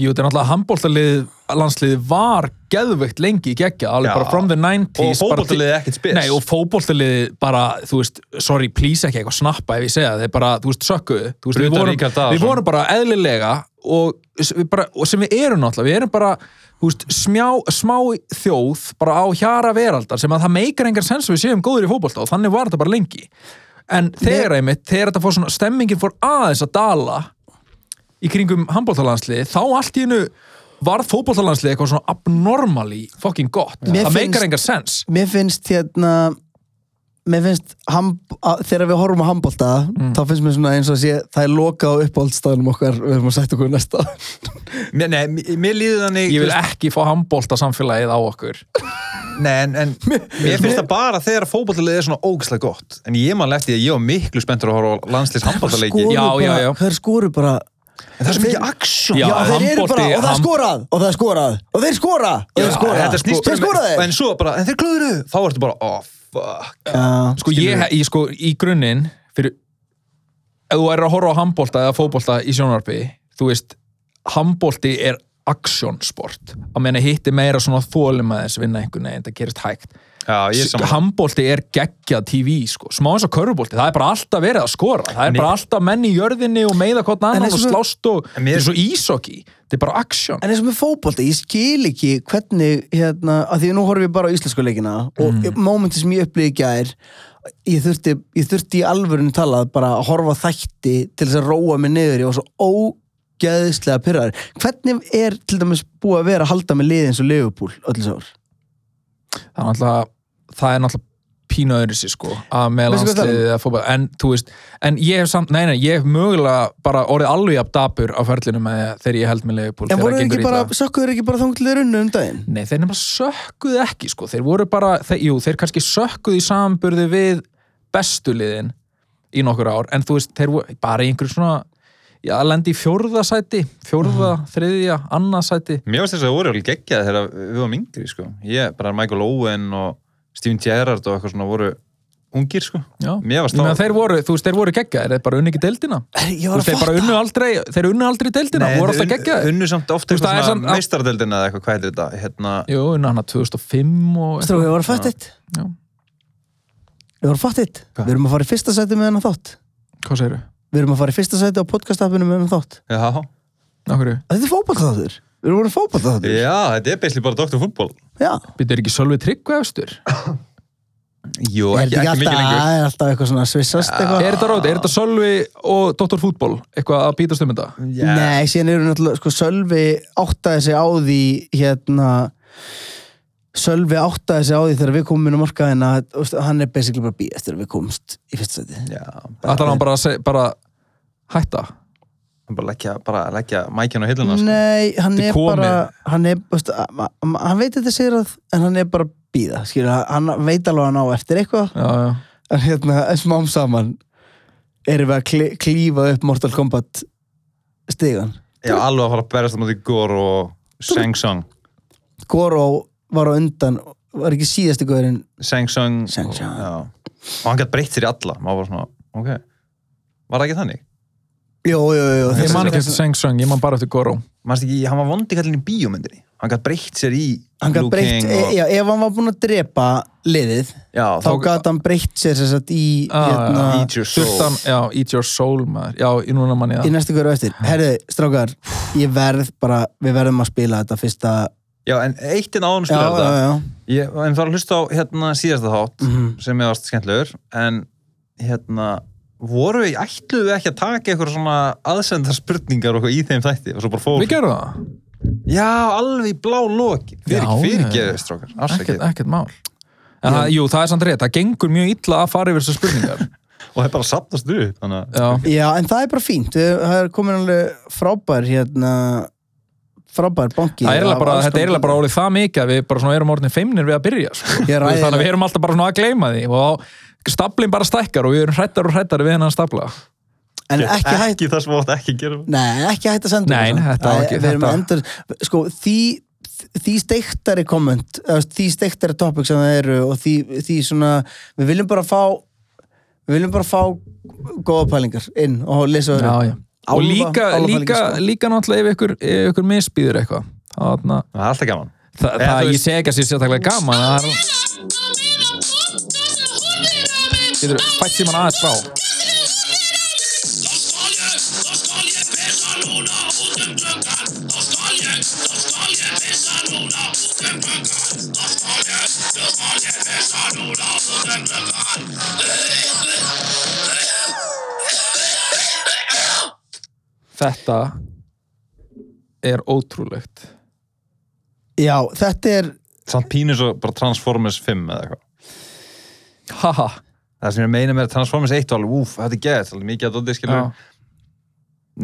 Speaker 2: jú, þetta er náttúrulega handbóltalið landsliði var geðveikt lengi í geggja, alveg
Speaker 3: Já.
Speaker 2: bara from the 90s
Speaker 3: og fótbóltaliðið ekkert spes
Speaker 2: Nei, og fótbóltalið bara, þú veist, sorry, please ekki eitthvað snappa ef ég segja það, þeir bara, þú veist, sökkuðu Þú veist, við
Speaker 3: Utan
Speaker 2: vorum,
Speaker 3: Ríkard Daðason.
Speaker 2: við vorum bara eðlilega og, s- við bara, og sem við erum náttúrulega, við erum bara þú veist, smjá, smá þjóð bara á hjara veraldar sem að það meikar engan sens að við séum góður í fótbolta og þannig var þetta bara lengi en þegar einmitt, þegar þetta fór svona stemmingin fór aðeins að dala í kringum handbóltalansliði, þá allt í hennu varð fótbóltalansliði eitthvað svona abnormally fucking gott,
Speaker 1: Mér
Speaker 2: það
Speaker 1: finnst-
Speaker 2: meikar engan sens
Speaker 1: Mér finnst hérna mér finnst ham, að, þegar við horfum á handbólta
Speaker 2: Mm.
Speaker 1: þá finnst mér svona eins og að sé það er loka á uppáhaldstæðunum okkar við erum að setja okkur næsta
Speaker 3: mér, nei, mér- mér líður þannig
Speaker 2: Ég vil
Speaker 3: þú veist,
Speaker 2: ekki fá handbólta samfélagið á okkur
Speaker 3: nei, en, en mér finnst það bara þegar fótbóltaliðið er svona ógislega gott en ég man lefti að ég var miklu spenntur að horfa á landsliðs handbóltaleiki
Speaker 2: Já,
Speaker 1: bara,
Speaker 2: já, já.
Speaker 1: þeir skoru bara
Speaker 3: en það er svo mikið aksjón
Speaker 1: Já,
Speaker 2: Já,
Speaker 1: þeir eru bara,
Speaker 2: handbolti-
Speaker 1: og það er
Speaker 2: hand-
Speaker 1: skorað, og það er skorað, og þeir skora, og þeir skora,
Speaker 3: þetta
Speaker 2: sko-
Speaker 3: snýst
Speaker 1: þeir
Speaker 3: um-
Speaker 1: skora þeir.
Speaker 3: en svo bara, en þeir klöðru þá ertu bara, oh fuck
Speaker 1: Já,
Speaker 2: Sko ég, ég sko í grunninn fyrir, ef þú er að horfa á handbólta eða fótbólta í sjónvarpi þú veist, handbólti er aksjónsport, að meina hitti meira svona þólum aðeins vinna einhvern veginn það gerist hægt,
Speaker 3: já, ég er saman
Speaker 2: handbólti er geggjað TV sko, smá eins og körfubólti, það er bara alltaf verið að skora, það er
Speaker 3: Mér-
Speaker 2: bara alltaf menn í jörðinni og meiða hvort
Speaker 1: En
Speaker 2: annan
Speaker 1: eins
Speaker 2: og
Speaker 1: og-
Speaker 2: slást og,
Speaker 3: En mér-
Speaker 2: þetta er svo ísokki þetta er bara aksjón
Speaker 1: En eins og með fótbolta, ég skil ekki hvernig, hérna, að því að nú horfum ég bara á íslensku leikina og mm. momenti sem ég upplýði gær, ég þurfti, ég þurfti í alvörinu talað bara að horfa á þætti til þess að róa mig niður, ég var svo ógeðslega pyrrar. Hvernig er til dæmis búið að vera að halda með liði eins og Liverpool öll þessu ár?
Speaker 2: það er náttúrulega það er náttúrulega pínu öðru sér sko að með
Speaker 1: Veistu hvað það er?
Speaker 2: landsliðið eða fótball en þú veist, en ég hef samt, nei nei, ég hef mögulega bara orðið alveg jafn dapur á ferlinu með þegar ég held með leifupúl
Speaker 1: En voru þeir ekki bara, sökkuður ekki bara þangtilega runnu um daginn?
Speaker 2: Nei, þeir nefnilega sökkuðu ekki sko þeir voru bara, þeir, jú, þeir kannski sökkuðu í samburði við bestu liðin í nokkur ár, en þú veist þeir voru bara í einhverjum svona já, lendi í fjórða sæti, fjórða,
Speaker 3: Mhm.
Speaker 2: þriðja annað sæti,
Speaker 3: Mér finnst þess að það voru alveg geggjað þegar við varum yngri, sko. Ég, bara Michael Owen og Steven Gerrard og eitthvað svona voru ungir sko
Speaker 2: Já.
Speaker 3: Mér varst
Speaker 2: Ég meina,
Speaker 3: þá
Speaker 2: þeir voru, þú veist, þeir voru geggja, þeir bara unni ekki deildina
Speaker 1: Ég
Speaker 2: Þú
Speaker 1: var
Speaker 2: veist,
Speaker 1: að
Speaker 2: þeir bara
Speaker 1: fatta
Speaker 2: unnu aldrei, þeir unnu aldrei deildina,
Speaker 3: Nei,
Speaker 2: voru alltaf
Speaker 3: þeir unnu-
Speaker 2: geggja
Speaker 3: Unnu samt
Speaker 2: Þú
Speaker 3: ofta
Speaker 2: veist, það er
Speaker 3: eitthvað
Speaker 2: samt-
Speaker 3: svona meistaradeldina eða eitthvað, hvað heitir þetta? Hérna,
Speaker 2: Jú, unna hana 2005 og
Speaker 1: Strákar, ég var að fatta eitt
Speaker 2: Já.
Speaker 1: Ég var að fatta eitt
Speaker 3: Hvað?
Speaker 1: Við erum að fara í fyrsta sæti með hennan þátt
Speaker 2: Hvað segirðu?
Speaker 1: Við erum að fara í fyrsta sæti á podcast-appinu með hennan þátt
Speaker 3: já,
Speaker 2: Af hverju?
Speaker 1: Þetta er fótballþáttur Við erum voru fótballþáttur
Speaker 3: já, þetta er beisli bara doktor fútból
Speaker 1: Já
Speaker 2: Býttu er ekki Sölvi Tryggva efstur?
Speaker 3: Jú,
Speaker 1: Er þetta
Speaker 3: ekki, ekki
Speaker 1: ekki
Speaker 3: mikið
Speaker 1: alltaf,
Speaker 3: lengur
Speaker 1: það er alltaf eitthvað svona svissast eitthvað?
Speaker 2: Er þetta ráð? Er þetta Sölvi og Dr. Fútból eitthvað að býtast um þetta?
Speaker 3: Já.
Speaker 1: Nei, síðan eru náttúrulega, sko, Sölvi áttaði sig á því, hérna, Sölvi áttaði sig á því þegar við komum inn á markaðina, þú veist, hann er basically bara býð eftir að við komumst í fyrsta seti.
Speaker 3: Já,
Speaker 2: Ætlar hann bara að seg, bara hætta?
Speaker 3: bara leggja, bara leggja mækjan á hilluna sko.
Speaker 1: Nei, hann
Speaker 2: Þetta er
Speaker 1: er
Speaker 2: komið.
Speaker 1: bara, hann er, þú veist, a- a- a- hann veit þetta sér að, en hann er bara að býða, skilur, hann hann veit alveg að hann á eftir eitthvað,
Speaker 2: Já, já.
Speaker 1: en hérna, en smám saman erum við að kli, klífa upp Mortal Kombat stigan.
Speaker 3: Já, alveg að fara að berast á móti Gór og Sengsang
Speaker 1: Goro var á undan, var ekki síðasti góðurinn
Speaker 3: Sengsang
Speaker 1: Sengsang.
Speaker 3: já. Og hann gætt breytt sér í alla Maður bara svona, ok Var það ekki þannig?
Speaker 1: Jú, jú, jú, jú
Speaker 2: Ég
Speaker 1: þessi-
Speaker 2: man ekki eftir Seng Söng, ég man bara eftir Goró.
Speaker 3: Manst ekki, hann var vondi kallin í bíómyndinni Hann gætt breytt sér í
Speaker 1: hann gat
Speaker 3: Liu
Speaker 1: breytt, e-
Speaker 3: Kang
Speaker 1: og...
Speaker 3: og,
Speaker 1: já, ef hann var búinn að drepa liðið,
Speaker 3: Já,
Speaker 1: þá
Speaker 3: þá
Speaker 1: gat hann breytt sér sem sagt í,
Speaker 2: Ah,
Speaker 1: hérna,
Speaker 3: Eat your soul
Speaker 2: Þurftan, já, Eat Your Soul, maður. Já, Ah. í núna man ég
Speaker 1: í
Speaker 2: það.
Speaker 1: næstu hverju á eftir herðu, strákar, ég verð bara við verðum að spila þetta fyrsta
Speaker 3: Já, en eitt hérna en áðan
Speaker 1: já,
Speaker 3: spila
Speaker 1: já,
Speaker 3: þetta
Speaker 1: já,
Speaker 3: Ég, en það var að hlusta á hérna síðasta þátt
Speaker 1: Mhm.
Speaker 3: sem ég varst skemmtilegur en hérna voru við, ætluðu við ekki að taka eitthvað svona aðsendar spurningar og eitthvað í þeim þætti og svo bara fór,
Speaker 2: Við gerum það.
Speaker 3: já, alveg í blá loki fyrir,
Speaker 2: Já, já,
Speaker 3: fyrir
Speaker 2: já.
Speaker 3: geðið strókar,
Speaker 2: Ekkert,
Speaker 3: afsakið
Speaker 2: ekkert mál. En það, jú, það er samt rétt. Það gengur mjög illa að fara yfir þessar spurningar.
Speaker 3: og það er bara að sapnast upp þannig að
Speaker 2: Já.
Speaker 1: já, en það er bara fínt Við- það er komin alveg frábær hérna, frábær banki
Speaker 2: Það er eiginlega
Speaker 1: af
Speaker 2: bara,
Speaker 1: alls
Speaker 2: þetta er
Speaker 1: konar-
Speaker 2: eiginlega bara orðið það mikið að við bara svona erum orðin feimnir við að byrja sko.
Speaker 1: Ég ræði-
Speaker 2: þannig að við erum alltaf bara svona að gleyma því og þá staplin bara stækkar og við erum hrættar og hrættar við hennan stapla
Speaker 1: en ekki hægt
Speaker 3: ekki það sem átt ekki að gera
Speaker 1: Nei, ekki hægt að senda
Speaker 2: Nei,
Speaker 1: okkur
Speaker 2: nei,
Speaker 1: það.
Speaker 2: þetta var ekki-
Speaker 1: Æ, Við erum
Speaker 2: þetta-
Speaker 1: að endur, sko, því því steiktari komment eða því steiktari topic sem það eru og því, því svona, við viljum bara fá við viljum bara fá góða pælingar inn og lesa
Speaker 2: já, já. og
Speaker 1: Álfa-
Speaker 2: líka,
Speaker 1: álfapælingar,
Speaker 2: líka,
Speaker 1: sko.
Speaker 2: líka náttúrulega ef ykkur, ef ykkur misbýður eitthvað þannig að
Speaker 3: það er alltaf gaman
Speaker 2: það,
Speaker 3: Eða, þú
Speaker 2: það ég
Speaker 3: veist-
Speaker 2: segi ekki að sé sérstaklega gaman en það er getur fætt síman aðeins frá um um um þetta er ótrúlegt
Speaker 1: já, þetta er
Speaker 3: samt pínus og bara Transformers 5 eða eitthvað
Speaker 2: haha
Speaker 3: það sem ég meina með Transformers 1 var alveg, úf, þetta er geðið, alveg mikið að dóti skilur
Speaker 2: já.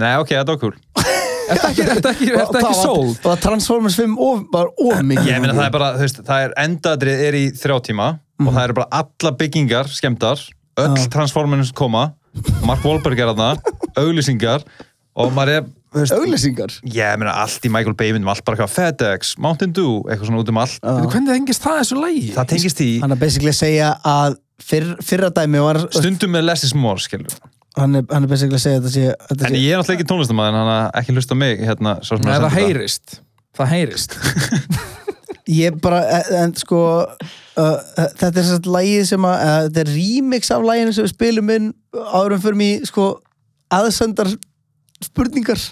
Speaker 3: nei, ok, þetta var cool
Speaker 2: Er þetta ekki, er þetta ekki, er þetta
Speaker 1: það
Speaker 2: ekki
Speaker 1: var-
Speaker 2: sól?
Speaker 1: það var Transformers 5 of, var of mikið
Speaker 3: Ég meina það er bara, þú veist, það er endadrið er í þrjá tíma og það eru bara alla byggingar skemmdar, öll
Speaker 1: Já.
Speaker 3: Transformers koma, Mark Wahlberg er aðna, auglýsingar og maður er, þú veist,
Speaker 1: auglýsingar
Speaker 3: ég meina allt í Michael Bay myndum, allt bara eitthvað FedEx, Mountain Dew, eitthvað svona út um allt.
Speaker 2: Veitu, Hvernig tengist það þessu lægi?
Speaker 3: Það tengist í,
Speaker 1: hann er basically að segja að fyrr, fyrra dæmi var
Speaker 3: stundum með Less is More, skilur.
Speaker 1: hann er, hann er basically að segja að þetta sé, að þetta
Speaker 3: En
Speaker 1: sé
Speaker 3: ég er náttúrulega ekki tónlistamæðin, hann að ekki hlusta á mig, hérna, svo sem
Speaker 2: Nei,
Speaker 3: að
Speaker 2: það
Speaker 3: senda
Speaker 2: heyrist Það
Speaker 3: (laughs)
Speaker 2: heyrist
Speaker 1: Ég bara, en- en sko uh, þetta er sérst lægið sem að uh, þetta er remix af læginu sem við spilum inn árum fyrir mig sko aðsendar spurningar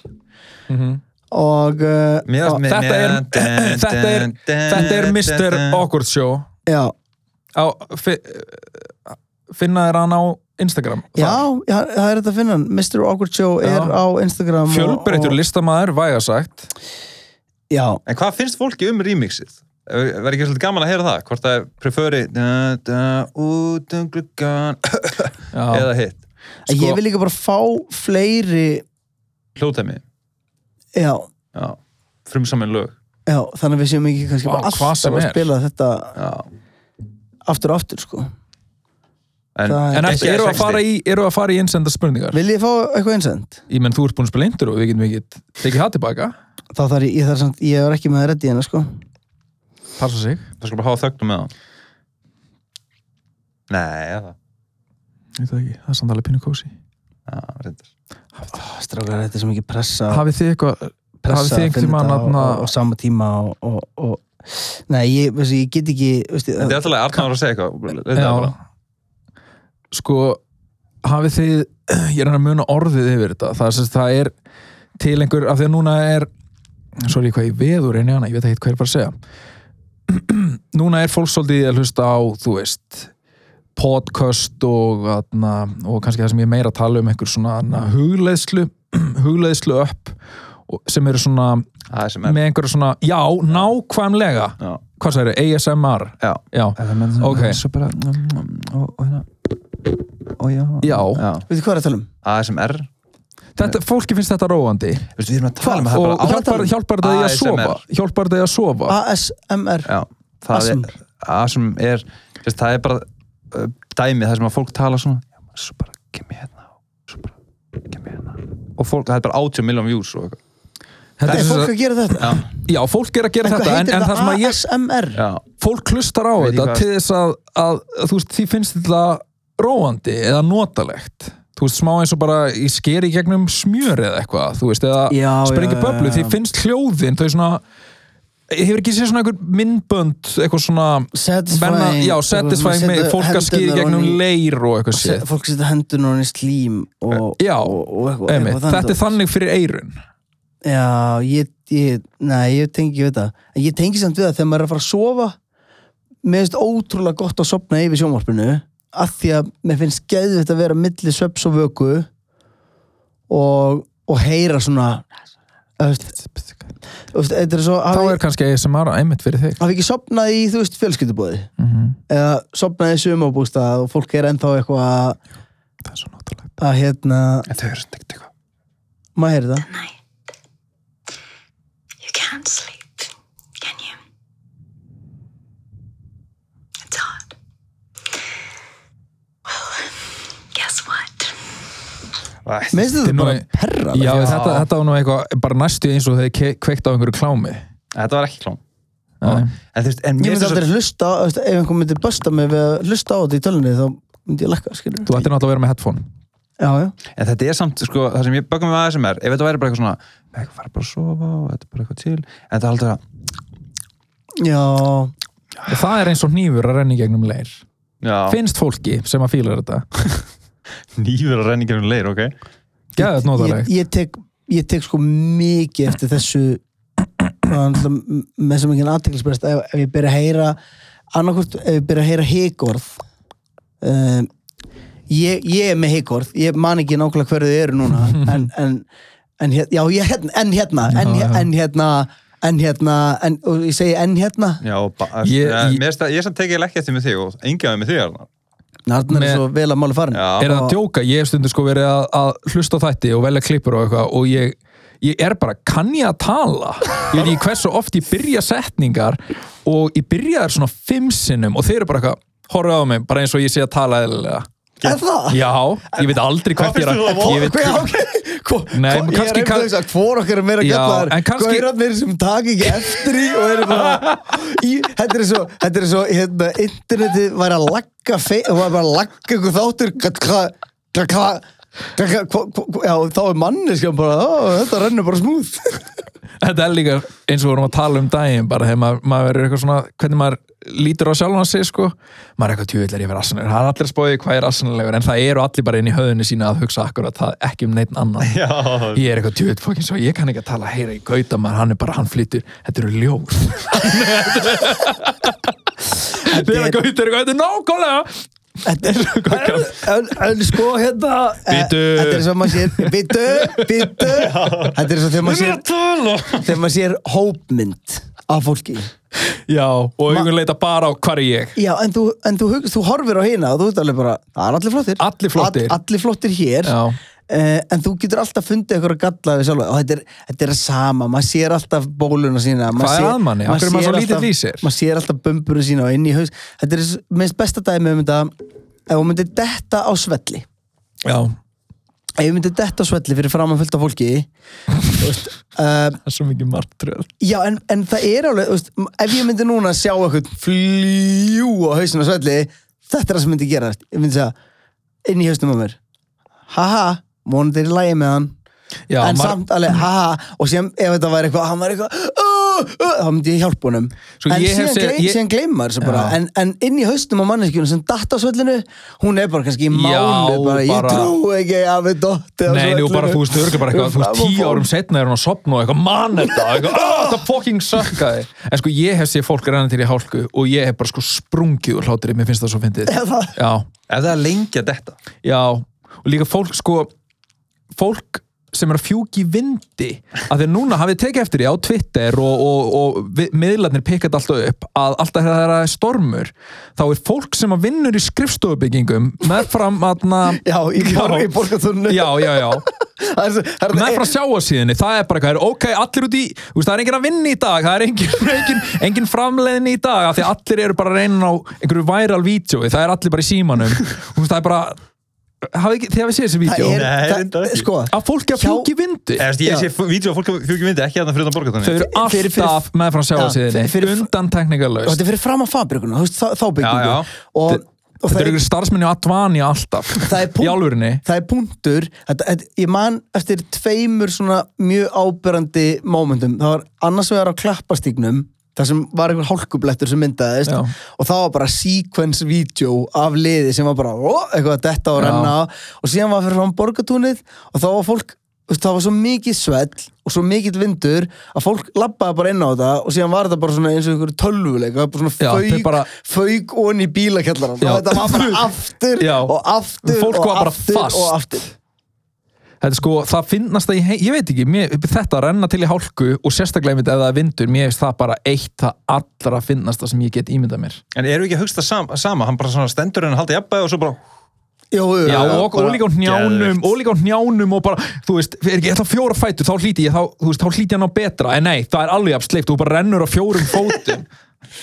Speaker 2: Mhm.
Speaker 1: og uh,
Speaker 3: Mér
Speaker 1: og-
Speaker 3: varst með-
Speaker 2: Þetta er, þetta er, þetta er Mr. Awkward Show
Speaker 1: já,
Speaker 2: á, fi, Finna þér hann á Instagram
Speaker 1: já, já, það er þetta að finna hann. Mr. Awkward Show
Speaker 2: Já.
Speaker 1: er á Instagram og-
Speaker 2: Fjölbreytur
Speaker 1: og-
Speaker 2: listamaður, vægasagt
Speaker 1: Já,
Speaker 3: En hvað finnst fólki um remixið? Verður ekki svolítið gaman að heyra það? Hvort það preferi da, da, út um gluggan
Speaker 2: Já,
Speaker 3: eða hitt?
Speaker 1: en
Speaker 2: Sko-
Speaker 1: ég vil líka bara fá fleiri
Speaker 3: Hljóðtæmi,
Speaker 1: já,
Speaker 3: já. Frumsamin lög,
Speaker 1: já, þannig að við séum ekki kannski
Speaker 2: Vá,
Speaker 1: bara
Speaker 2: hvað sem
Speaker 1: alltaf að
Speaker 2: er.
Speaker 1: spila þetta
Speaker 3: já.
Speaker 1: aftur og aftur sko
Speaker 3: En,
Speaker 1: Það er-
Speaker 2: En
Speaker 3: ekki
Speaker 2: eftir, eru að
Speaker 3: sexy.
Speaker 2: fara í, eru að fara í innsenda spurningar?
Speaker 1: Viljið þið fá eitthvað einsend?
Speaker 2: Ég menn, þú ert búin að spila eindur og við getum ekki tekið það tilbaka
Speaker 1: þá þarf ég, ég þarf samt, ég var ekki með að reddi hérna sko
Speaker 2: Passa sig
Speaker 3: Það skal bara hafa þögnum með það. Nei, já, það.
Speaker 2: Ég veit það ekki, það er samt alveg pínu kósi
Speaker 3: Já, reyndar.
Speaker 1: Strákar, þetta er svo mikið pressa
Speaker 2: Hafið þið eitthvað Hafið
Speaker 1: pressa
Speaker 2: þið
Speaker 1: að
Speaker 2: einhvern
Speaker 1: finna
Speaker 2: tímann
Speaker 1: þetta á,
Speaker 2: þarna-
Speaker 1: á, á sama tíma og, og, og nei, ég, veistu, ég get ekki veistu,
Speaker 3: Þetta er alltaf að Arna var að segja eitthvað. Þetta er bara.
Speaker 2: Já. Sko, hafið þið (clears throat) ég er hann að muna orðið yfir þetta það er, sem sagt- það er til einhver af því að núna er sorry, hvað ég veður einu hana, ég veit ekki hvað ég er bara að segja (clears throat) núna er fólk svolítið að hlusta á, þú veist podcast og, atna, og kannski það sem ég er meira að tala um einhver svona atna,
Speaker 3: Mm.
Speaker 2: hugleiðslu (clears throat) hugleiðslu upp og- sem eru svona
Speaker 3: ASMR.
Speaker 2: með einhverja svona, já, nákvæmlega
Speaker 3: Já.
Speaker 2: hvað það eru, ASMR
Speaker 3: Já.
Speaker 2: já, Ok.
Speaker 3: Svo bara, og hérna, og já.
Speaker 2: Já.
Speaker 1: veistu hvað er að tala um?
Speaker 3: ASMR.
Speaker 2: þetta, fólki finnst þetta róandi
Speaker 3: Veistu, við erum að tala um það
Speaker 2: og
Speaker 3: bara
Speaker 2: hjálpar, hjálpar þetta í að
Speaker 3: ASMR.
Speaker 2: sofa hjálpar þetta í að sofa
Speaker 1: Ah, ASMR
Speaker 3: Já, það
Speaker 1: ASMR.
Speaker 3: er, ASM er þess, það er bara uh, dæmi það sem að fólk tala svona já, maður svo bara kemur hérna og svo bara kemur hérna og fólk, það er bara 80 miljón views og eitthvað
Speaker 2: Þetta
Speaker 1: er
Speaker 2: sem
Speaker 1: fólk
Speaker 2: sagt-
Speaker 1: að gera þetta?
Speaker 3: Já.
Speaker 2: já, fólk er að gera
Speaker 1: En hvað
Speaker 2: þetta en,
Speaker 1: heitir
Speaker 2: en það sem
Speaker 1: þetta?
Speaker 2: að ég,
Speaker 1: ASMR?
Speaker 3: Já,
Speaker 2: fólk hlustar á
Speaker 3: Veit ég
Speaker 2: þetta
Speaker 3: hvað-
Speaker 2: til þess að, að, að þú veist, því finnst þetta róandi eða notalegt þú veist, smá eins og bara í skeri gegnum smjör eða eitthvað, þú veist, eða
Speaker 1: Já,
Speaker 2: sprengi
Speaker 1: já, já,
Speaker 2: böblu,
Speaker 1: já.
Speaker 2: því finnst hljóðin þau svona ég hefur ekki séð svona einhver myndbönd eitthvað svona
Speaker 1: Satisfying.
Speaker 2: menna, já,
Speaker 1: Eitthvað svona
Speaker 2: satisfying
Speaker 1: setja
Speaker 2: með fólk að skýri
Speaker 1: hendurnar
Speaker 2: gegnum
Speaker 1: ofan í-
Speaker 2: leir og eitthvað
Speaker 1: Se-
Speaker 2: séð
Speaker 1: fólk setja hendur núna í slím og,
Speaker 2: Já,
Speaker 1: og, og eitthvað,
Speaker 2: Einmitt,
Speaker 1: eitthvað
Speaker 2: þetta er þannig fyrir eirun
Speaker 1: Já, ég, ég, nei, ég tengi ekki við það. En Ég tengi samt við það þegar maður er að fara að sofa mér finnst ótrúlega gott að sopna yfir sjónvarpinu af því að mér finnst geðvægt að vera milli sveps og vöku og, og heyra svona þú veist, þú veist, Þetta er svo
Speaker 2: þá
Speaker 1: hafi,
Speaker 2: er kannski ASMR einmitt fyrir þig
Speaker 1: hafi ekki sopnað í, þú veist, fjölskyldubóði eða sopnað í sumabústað og fólk er ennþá eitthvað að,
Speaker 2: það er svo notalegt
Speaker 1: að hérna,
Speaker 3: en þau eru svona ekkert eitthvað
Speaker 1: maður heyri það
Speaker 4: night. You can't sleep, can you? It's hard. Well, guess what?
Speaker 3: Æ,
Speaker 1: Mér finnst
Speaker 2: Þetta er
Speaker 1: þetta bara
Speaker 2: nú-
Speaker 1: perra
Speaker 2: Já, þetta, þetta var nú eitthvað bara næstu eins og þegar ke- kveikt á einhverju klámi
Speaker 3: Þetta var ekki klón
Speaker 2: Nei.
Speaker 3: En þú veist,
Speaker 1: Ég
Speaker 3: en mér
Speaker 1: myndi
Speaker 3: finnst
Speaker 1: aldrei hlusta, á- veist, ef einhver myndi bösta mig við að hlusta á þetta í tölunni þá myndi ég lakka, skilur
Speaker 2: Þú ættir náttúrulega að vera með headphone
Speaker 1: Já, já,
Speaker 3: En þetta er samt, sko, það sem ég bögum með ASMR ef þetta væri bara eitthvað svona, eitthvað fara bara að sofa og þetta er bara eitthvað til, en þetta er aldrei að
Speaker 1: já
Speaker 2: Það er eins og nýfur að renni gegnum leir
Speaker 3: Já,
Speaker 2: Finnst fólki sem að fílar þetta
Speaker 3: nýfur að renningar um leir, ok?
Speaker 2: Gæðið
Speaker 1: ég,
Speaker 2: nótalegt
Speaker 1: ég, tek, ég tek sko mikið eftir þessu það er náttúrulega m- með sem ekki aðteklisbrest ef, ef ég byrja að heyra annarkvort, ef ég byrja að heyra heikorð um, ég, ég er með heikorð ég man ekki nákvæmlega hverju þið eru núna en, en, en, hér, já, ég, hérna, en hérna en,
Speaker 2: Já,
Speaker 1: hér-
Speaker 2: já.
Speaker 1: en hérna en hérna, en, og ég segi en hérna
Speaker 3: Já, ba-
Speaker 2: Ég-
Speaker 3: eh,
Speaker 2: ég-
Speaker 3: mér finnst að- ég samt tekið ekki eftir með þig og engið með þig, Arnar.
Speaker 1: Arnar
Speaker 2: Með-
Speaker 1: er svo vel að máli farin
Speaker 3: Já.
Speaker 2: Er það að djóka? Ég hef stundu sko verið að, að hlusta á þætti og velja klippur og eitthvað og ég, ég er bara, kann ég að tala? Ég veit ekki hversu oft ég byrja setningar og ég byrja þær svona fimm sinnum og þeir eru bara eitthvað horfið á mig, bara eins og ég sé að tala eðlilega
Speaker 1: Er það?
Speaker 2: Já, ég veit aldrei hvert ég er
Speaker 3: finnst
Speaker 2: að
Speaker 3: þér það
Speaker 2: ég veit,
Speaker 1: Já, ok. Hvo- hvo-
Speaker 2: Nei, men
Speaker 1: ég er
Speaker 2: kannski-
Speaker 1: einmitt að hugsa hvor okkar er meira
Speaker 2: Já,
Speaker 1: gætlaðar
Speaker 2: en kannski-
Speaker 1: gaurarnir sem taka ekki eftir í og eru bara í, þetta er svo, þetta er svo hérna, internetið var að lagga fe- var bara að lagga einhver þáttur gat- hvað- hvað- hvað- hvað- hvað- hvað- hvað- já, þá er manneskjan bara ó, þetta rennur bara smúð
Speaker 2: Þetta er líka eins og við vorum að tala um daginn bara þegar maður, maður verður eitthvað svona hvernig maður lítur á sjálfan sig sko maður er eitthvað tjóðilegur yfir assanlegur það er allir að spóið hvað er assanlegur en það eru allir bara inn í höðunni sína að hugsa akkurat það ekki um neitt annan
Speaker 3: Já,
Speaker 2: ég er eitthvað tjóðilegur fokkin svo ég kann ekki að tala heyra í gauta maður hann er bara hann flytur þetta eru ljóð þetta er gauta er eitthvað þetta er nákvæmlega
Speaker 1: Þetta er svo en, en, en sko hérna eh,
Speaker 3: Bíddu.
Speaker 1: Þetta er svo maður sér Bitu, bitu Þetta er svo þegar maður sér Þegar maður sér hópmynd af fólki
Speaker 2: já og augun leita bara á hvar er ég
Speaker 1: Já, en þú, en þú, hug, þú horfir á hina og þú ert alveg bara, það er allir flottir
Speaker 2: Allir flottir.
Speaker 1: All, Allir flottir hér
Speaker 2: Já.
Speaker 1: Eh, en þú getur alltaf fundið eitthvað að galla við sjálfa og þetta er, þetta er að sama, maður sér alltaf bóluna sína maður
Speaker 2: Hvað er
Speaker 1: sér-
Speaker 2: að manni? Af hverju er maður
Speaker 1: sér
Speaker 2: svo lítill
Speaker 1: alltaf-
Speaker 2: í sér?
Speaker 1: Maður sér alltaf bömburinn sína og inn í haus Þetta er s- minnst besta dæmi um þetta ef hún myndi detta á svelli
Speaker 2: já
Speaker 1: ef ég myndi detta á svelli fyrir framan fullt af fólki þú veist, uh,
Speaker 2: það er svo mikið martröð
Speaker 1: Já, en, en það er alveg, þú veist, m- ef ég myndi núna sjá eitthvað fljú á hausinu á svelli, þetta er það sem myndi gera, þú veist. ég myndi segja, inn í haustum á mér haha, vonandi er í lægi með hann
Speaker 2: Já,
Speaker 1: en
Speaker 2: maður-
Speaker 1: samt alveg, haha og sem ef þetta væri eitthvað, hann væri eitthvað uh, uh, þá myndi ég hjálpa honum
Speaker 2: Sko,
Speaker 1: en
Speaker 2: ég hef
Speaker 1: síðan,
Speaker 2: séð-
Speaker 1: gley,
Speaker 2: ég-
Speaker 1: síðan gleymar þessu bara
Speaker 2: Já.
Speaker 1: en, en inn í haustum á manneskjunum sem datt á svöllinu hún er bara kannski í mánu bara, ég
Speaker 2: bara-
Speaker 1: trú ekki að við dotti á
Speaker 2: Nei, nú
Speaker 1: svellinu."
Speaker 2: bara þú veist örgulega bara eitthvað, þú veist
Speaker 1: Fram og
Speaker 2: tíu
Speaker 1: fór.
Speaker 2: árum setna er hún að sopna og eitthvað mann þetta, og eitthvað, "Ah, það fucking sökkaði. En sko ég hef séð fólk renna til í hálku og ég hef bara sko sprungið úr hlátri, mér finnst það svo fyndið.
Speaker 1: Já, það-
Speaker 2: Já,
Speaker 3: Ef það er lengi að detta.
Speaker 2: já, og líka fólk sko, fólk sem er að fjúki vindi að þegar núna hafið tekið eftir því á Twitter og, og, og vi- miðlarnir pikkat alltaf upp að alltaf þegar það er stormur þá er fólk sem að vinnur í skrifstofubyggingum meðfram aðna
Speaker 1: já, í, bor, í borgartúrnu
Speaker 2: já, já, já
Speaker 1: það er, svo- það er,
Speaker 2: með frá sjáarsíðinni, það er bara eitthvað, ok, allir út í, þú veist, það er enginn að vinna í dag, það er (laughs) enginn, enginn, enginn framleiðin í dag, af því að allir eru bara að reyna á einhverju viral vídjói, það er allir bara
Speaker 1: (laughs)
Speaker 2: í símanum, þú veist, það er bara, hafið ekki, þið hafið séð þessi vídjó,
Speaker 1: er,
Speaker 3: Nei,
Speaker 1: það,
Speaker 3: reyndar ekki.
Speaker 1: sko,
Speaker 2: að fólki að
Speaker 1: Hjá-
Speaker 2: fjúki vindi,
Speaker 3: Eða, þú veist,
Speaker 1: Já.
Speaker 3: ég sé vídeo af fólk að fjóki myndi ekki að það fyrir það borgatunni.
Speaker 2: þau eru alltaf
Speaker 1: fyrir- fyrir-
Speaker 2: með frá
Speaker 1: Já, fyrir-
Speaker 2: sjáarsíðinni,
Speaker 1: fyrir-
Speaker 2: undan
Speaker 1: og
Speaker 2: teknikalöst,
Speaker 1: þetta er fyrir fram á fabrikuna þú veist, þá, þá byggingu
Speaker 3: Já, já.
Speaker 1: og, og
Speaker 2: þetta
Speaker 1: það,
Speaker 2: eru
Speaker 1: er,
Speaker 2: ykkur starfsmenni á Advani alltaf,
Speaker 1: Það er punkt-
Speaker 2: í álfurinni,
Speaker 1: það er punktur þetta, þetta, ég man eftir tveimur svona mjög áberandi mómentum það var annars vegar á klappastíknum það sem var einhver hálkublettur sem myndaðist
Speaker 2: Já.
Speaker 1: og það var bara sequence video af liði sem var bara ó, eitthvað þetta og
Speaker 2: Já.
Speaker 1: renna á. og síðan var fyrir fram borgatúnið og þá var fólk þú veist, það var svo mikið svell og svo mikill vindur að fólk labbaði bara inn á þetta og síðan var þetta bara svona eins og einhverju tölvuleika bara svona
Speaker 2: Já,
Speaker 1: fauk,
Speaker 2: þau bara-
Speaker 1: fauk onni í bílakjallaran
Speaker 2: Já.
Speaker 1: þetta var bara aftur
Speaker 2: Já.
Speaker 1: og aftur
Speaker 2: Fólk
Speaker 1: og
Speaker 2: var bara
Speaker 1: aftur
Speaker 2: fast.
Speaker 1: og aftur
Speaker 2: Þetta er sko, það finnast að ég, hei- ég veit ekki, mér, þetta að renna til í hálku og sérstaklega einmitt ef það er vindur, mér finnst það bara eitt það allra finnast það sem ég get ímyndað mér.
Speaker 3: En eru ekki að hugsta sam, sama, hann bara svona stendur en haldi jafnbæði og svo bara...
Speaker 1: Jú, jú,
Speaker 2: Já, og, og
Speaker 1: bara-
Speaker 2: líka á njánum,
Speaker 3: Geðveikt.
Speaker 2: og líka á njánum og bara, þú veist, er ekki þetta fjóra fætur, þá hlíti ég, þá, þú veist, þá hlíti ég hann á betra, en nei, það er alveg jafn sleipt, þú bara rennur á fjórum fótum.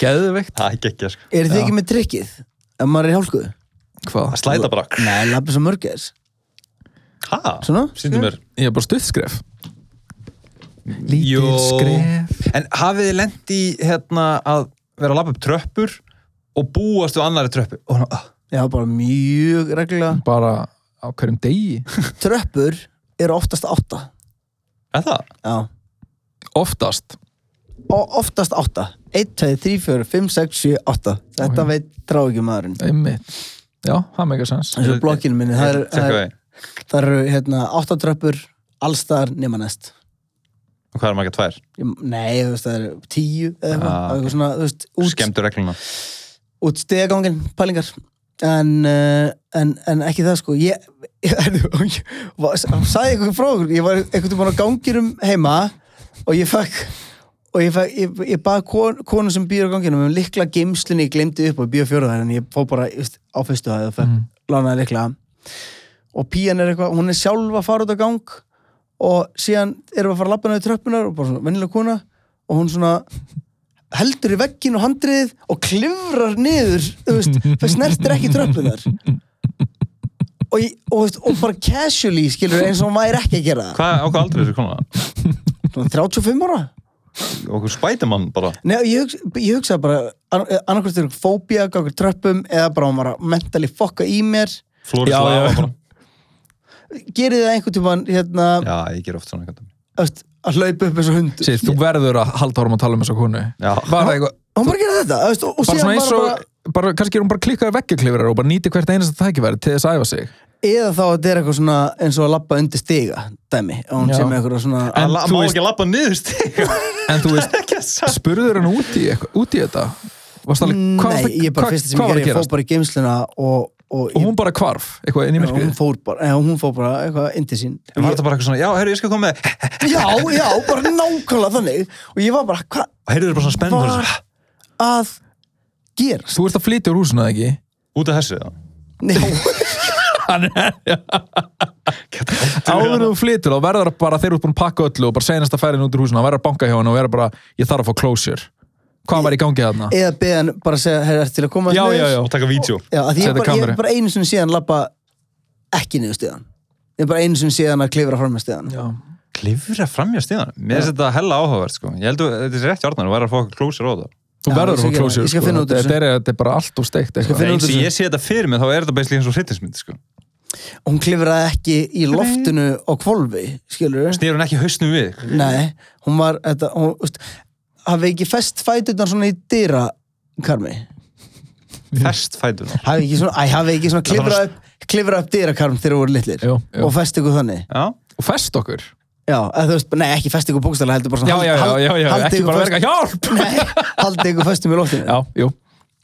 Speaker 2: Geðveikt.
Speaker 3: Það er ekki ekki, sko.
Speaker 1: Er þið ekki með trikkið? Ef maður er í hálku?
Speaker 2: Hvað?
Speaker 3: Það slæta bara.
Speaker 1: Nei, lappið svo mörgæðis
Speaker 3: Hæ?
Speaker 1: Svona?
Speaker 3: Sýndu mér.
Speaker 2: Ég er bara stuðskref. Lítið
Speaker 3: Jó.
Speaker 2: skref.
Speaker 3: En hafið þið lent í hérna að vera að lappa upp tröppur og búast við annari tröppu? Og hann, ah,
Speaker 1: Já, bara mjög reglulega
Speaker 2: Bara á hverjum degi.
Speaker 1: Tröppur eru oftast átta
Speaker 3: er það?
Speaker 1: Já
Speaker 2: Oftast.
Speaker 1: Og oftast átta 1, 2, 3, 4, 5, 6, 7, 8 Þetta
Speaker 2: Ok.
Speaker 1: veit trá ekki maðurinn
Speaker 2: Einmitt. Já, það meikar sens.
Speaker 1: Eins og blokkinu minni Það eru- það
Speaker 3: Tjekka
Speaker 1: eru
Speaker 3: við.
Speaker 1: það eru hérna átta tröppur Allstar nema næst
Speaker 3: Og hvað er maður ekki tvær?
Speaker 1: Ég- Nei, þú veist, það eru tíu eða eitthvað,
Speaker 3: Ah, ok.
Speaker 1: eitthvað svona, þú veist, út,
Speaker 3: Skemmtu regluna.
Speaker 1: út stegagangin, pælingar en, uh, en, en ekki það sko ég, (laughs) ég, ég var- sagði eitthvað frá okkur, ég var eitthvað búin á ganginum heima og ég fekk og ég, fekk, ég, ég bað kon, konu sem býr á ganginum um likla geimslinni, ég glemdi upp og býr fjóruðar en ég fó bara ég veist, á fyrstu hæð og fekk mm. lánaði likla og pían er eitthvað, hún er sjálf að fara út á gang og síðan erum við að fara að labba niður tröppunar og bara svona vennilega kona og hún svona heldur í veggin og handriðið og klifrar niður þú veist, það snertir ekki tröppunar og, ég, og, þú veist, og bara casually skilur eins og hún væri ekki að gera það
Speaker 3: Hvað, á hvað aldrei þessu kona?
Speaker 1: Svona 35 ára
Speaker 3: Okkur spætumann bara.
Speaker 1: Nei, ég, hugsa, ég hugsaði bara annarkvæmst er fóbía, gangur tröppum eða bara hún var að mentally fokka í mér
Speaker 3: Flóri
Speaker 2: Já,
Speaker 3: slaga
Speaker 2: já.
Speaker 3: bara.
Speaker 1: gerið það einhvern tímann hérna,
Speaker 3: Já, ég ger oft svona eitthvað.
Speaker 1: öst, að hlaupa upp eins og hundur
Speaker 2: Sér, þú verður að halda árum að tala um þessa konu
Speaker 3: Já.
Speaker 2: Bara, eitthvað,
Speaker 1: hún bara gerði þetta öst, og, og
Speaker 2: bara
Speaker 1: síðan
Speaker 2: svona
Speaker 1: var
Speaker 2: eins
Speaker 1: það
Speaker 2: og
Speaker 1: bara,
Speaker 2: bara, kannski er hún bara klikkaði veggjaklifrar og bara nýti hvert einasta tækifæri til þess að æfa sig
Speaker 1: eða þá að þetta er eitthvað svona eins og að labba undir stiga dæmi, og hún
Speaker 2: Já.
Speaker 1: sem eitthvað svona
Speaker 2: En
Speaker 3: En, la,
Speaker 2: þú
Speaker 3: má
Speaker 2: veist-
Speaker 3: ekki lappa niður stig (laughs)
Speaker 2: En þú
Speaker 1: (laughs)
Speaker 2: veist, spurður hann út í, eitthvað- út í þetta Varstu alveg, hvað, varstu-
Speaker 1: Nei, ég bara fyrsta sem
Speaker 2: hvað
Speaker 1: ég
Speaker 2: var að
Speaker 1: gerði, ég
Speaker 2: gerast?
Speaker 1: fór bara í geimsluna og, og,
Speaker 2: Og
Speaker 1: ég,
Speaker 2: hún bara hvarf, eitthvað inn í
Speaker 1: hún,
Speaker 2: myrkrið
Speaker 1: fór bara, eh, hún fór bara eitthvað indi sín
Speaker 3: En var þetta bara eitthvað svona, já, herru, ég skal koma með
Speaker 1: Já, já, bara nákvæmlega þannig og ég var bara, hvað
Speaker 3: Og heyrðu þér bara svona spennt og
Speaker 1: var
Speaker 3: svona,
Speaker 1: að
Speaker 2: (laughs)
Speaker 1: gerast?
Speaker 2: Þú ert að flytja úr húsinu eða ekki?
Speaker 3: Út af þessu það
Speaker 1: Nei,
Speaker 2: Áður en þú flytur þá verður það bara þeir eru búin að pakka öllu og bara senasta færin út úr húsinu þá verður að banka hjá hann og verður bara ég þarf að fá closure Hvað var í gangi þarna?
Speaker 1: eða beðið hann bara að segja, herra, ertu til að koma
Speaker 2: Já,
Speaker 1: niður?"
Speaker 2: já, já.
Speaker 3: Og taka vídeo
Speaker 1: Já, að því ég
Speaker 2: Setja
Speaker 1: bara, ég
Speaker 2: kameru.
Speaker 1: bara einu sinni síðan labba ekki niður stiðan ég bara einu sinni síðan að klifra fram með stiðan
Speaker 2: Já.
Speaker 3: Klifra framjá stíðan Mér finnst þetta hella áhugavert, sko Ég heldur, þetta er rétt hjárnar, þú verður að fá okkur klósir á það
Speaker 2: Þú
Speaker 1: Já,
Speaker 2: verður
Speaker 1: ég skal gera það.
Speaker 2: að fá closure
Speaker 1: Ég skal
Speaker 2: sko.
Speaker 1: finna út úr
Speaker 2: Þetta er- þetta er bara allt og steikt eitthvað.
Speaker 1: finna
Speaker 3: Eins
Speaker 1: út úr
Speaker 3: og
Speaker 1: þessu.
Speaker 3: ég sé þetta fyrir mig, þá er þetta basically eins og hryttismynd, sko
Speaker 1: hún klifraði ekki í loftinu á kvolfi, skilur við
Speaker 3: Snýr hún ekki hausnum við?
Speaker 1: nei, hún var þetta, hún, veist, hafi ekki fest fæturnar svona í dyra karmi,
Speaker 3: Fest fætunar.
Speaker 1: hafi ekki svona, æ, hafi ekki svona
Speaker 3: Það var-
Speaker 1: klifra upp, klifra upp dyra karm þegar hún voru litlir
Speaker 2: Jú, jú.
Speaker 1: og fest ykkur þannig
Speaker 3: Já.
Speaker 2: og fest okkur
Speaker 1: já, eða, þú veist, nei, ekki fest ykkur bókstæla heldur bara
Speaker 2: já,
Speaker 1: svona
Speaker 2: já, já,
Speaker 1: hald-
Speaker 2: já, já,
Speaker 1: haldið
Speaker 2: ekki
Speaker 1: ykkur
Speaker 2: bara
Speaker 1: föst-
Speaker 2: verka hjálp
Speaker 1: (laughs) Nei, haldi ykkur föstum í loftinu
Speaker 2: já, jú,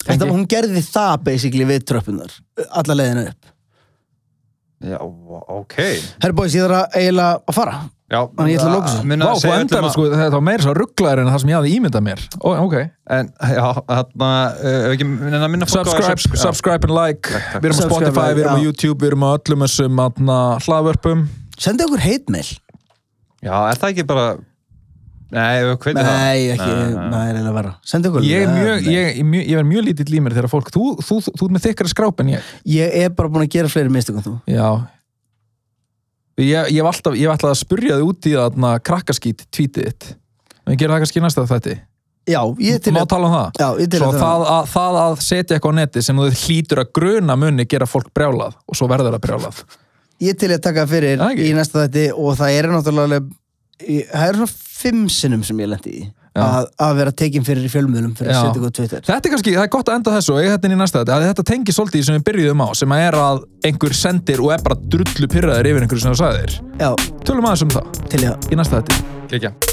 Speaker 1: Þetta,
Speaker 2: Tengi.
Speaker 1: hún gerði það basically við tröppunar alla leiðina upp
Speaker 3: Já, ok.
Speaker 1: Herra boys, ég þarf að eiginlega að fara
Speaker 3: Já.
Speaker 1: Þannig ég ætla að loka þessu.
Speaker 3: Minna
Speaker 2: Vá,
Speaker 3: að
Speaker 2: þú
Speaker 3: segja
Speaker 2: endar
Speaker 3: öllum að-
Speaker 2: sko, þetta var meira svo rugglaður en það sem ég hafði ímyndað mér Ó, ok,
Speaker 3: En, já, þarna, uh, ekki, minna, minna fólk á-
Speaker 2: subscribe,
Speaker 3: subs- já.
Speaker 2: subscribe and like
Speaker 3: Takk, takk.
Speaker 2: við erum á
Speaker 1: Subscribe,
Speaker 2: Spotify, við erum á
Speaker 1: já.
Speaker 2: YouTube, við erum á öllum þessum atna, hlaðvörpum
Speaker 1: Sendi okkur heitmail
Speaker 3: Já, er það ekki bara... Nei, við kveitum það.
Speaker 1: Nei, ekki, það er eiginlega verra Sendi okkur
Speaker 2: ég, er mjög,
Speaker 1: mail.
Speaker 2: ég, ég, mjög- ég er mjög lítill í mér þegar fólk þú, þú, þú, þú ert með þykkari skráp en ég
Speaker 1: ég er bara búin að gera fleiri mistökum þú
Speaker 2: já ég, ég, hef alltaf, ég hef alltaf að spurja þið út í atna, krakkaskít tweetið þitt en ég gera það kannski í næsta þetta
Speaker 1: Já, ég til
Speaker 2: má
Speaker 1: að
Speaker 2: tala um það
Speaker 1: Já, ég til
Speaker 2: Svo
Speaker 1: að
Speaker 2: það að, það að setja eitthvað á neti sem þú hlýtur að gruna munni gera fólk brjálað og svo verður það brjálað
Speaker 1: Ég til að taka fyrir
Speaker 2: Það ekki.
Speaker 1: í næsta þætti og það er náttúrulega í- það er svona fimm sinnum sem ég lendi í að, að vera tekin fyrir í fjölmjölum fyrir að
Speaker 2: Já.
Speaker 1: setja okkur á Twitter
Speaker 2: Þetta er kannski, það er gott að enda þessu og eiga þetta inn í næsta þetta, þetta tengi svolítið í sem við byrjuðum á sem að er að einhver sendir og er bara drullu pyrraður yfir einhverju sem þú sagðir
Speaker 1: Já,
Speaker 2: Tölum aðeins um það
Speaker 1: til ég að
Speaker 2: í næsta þetta
Speaker 3: Kekja.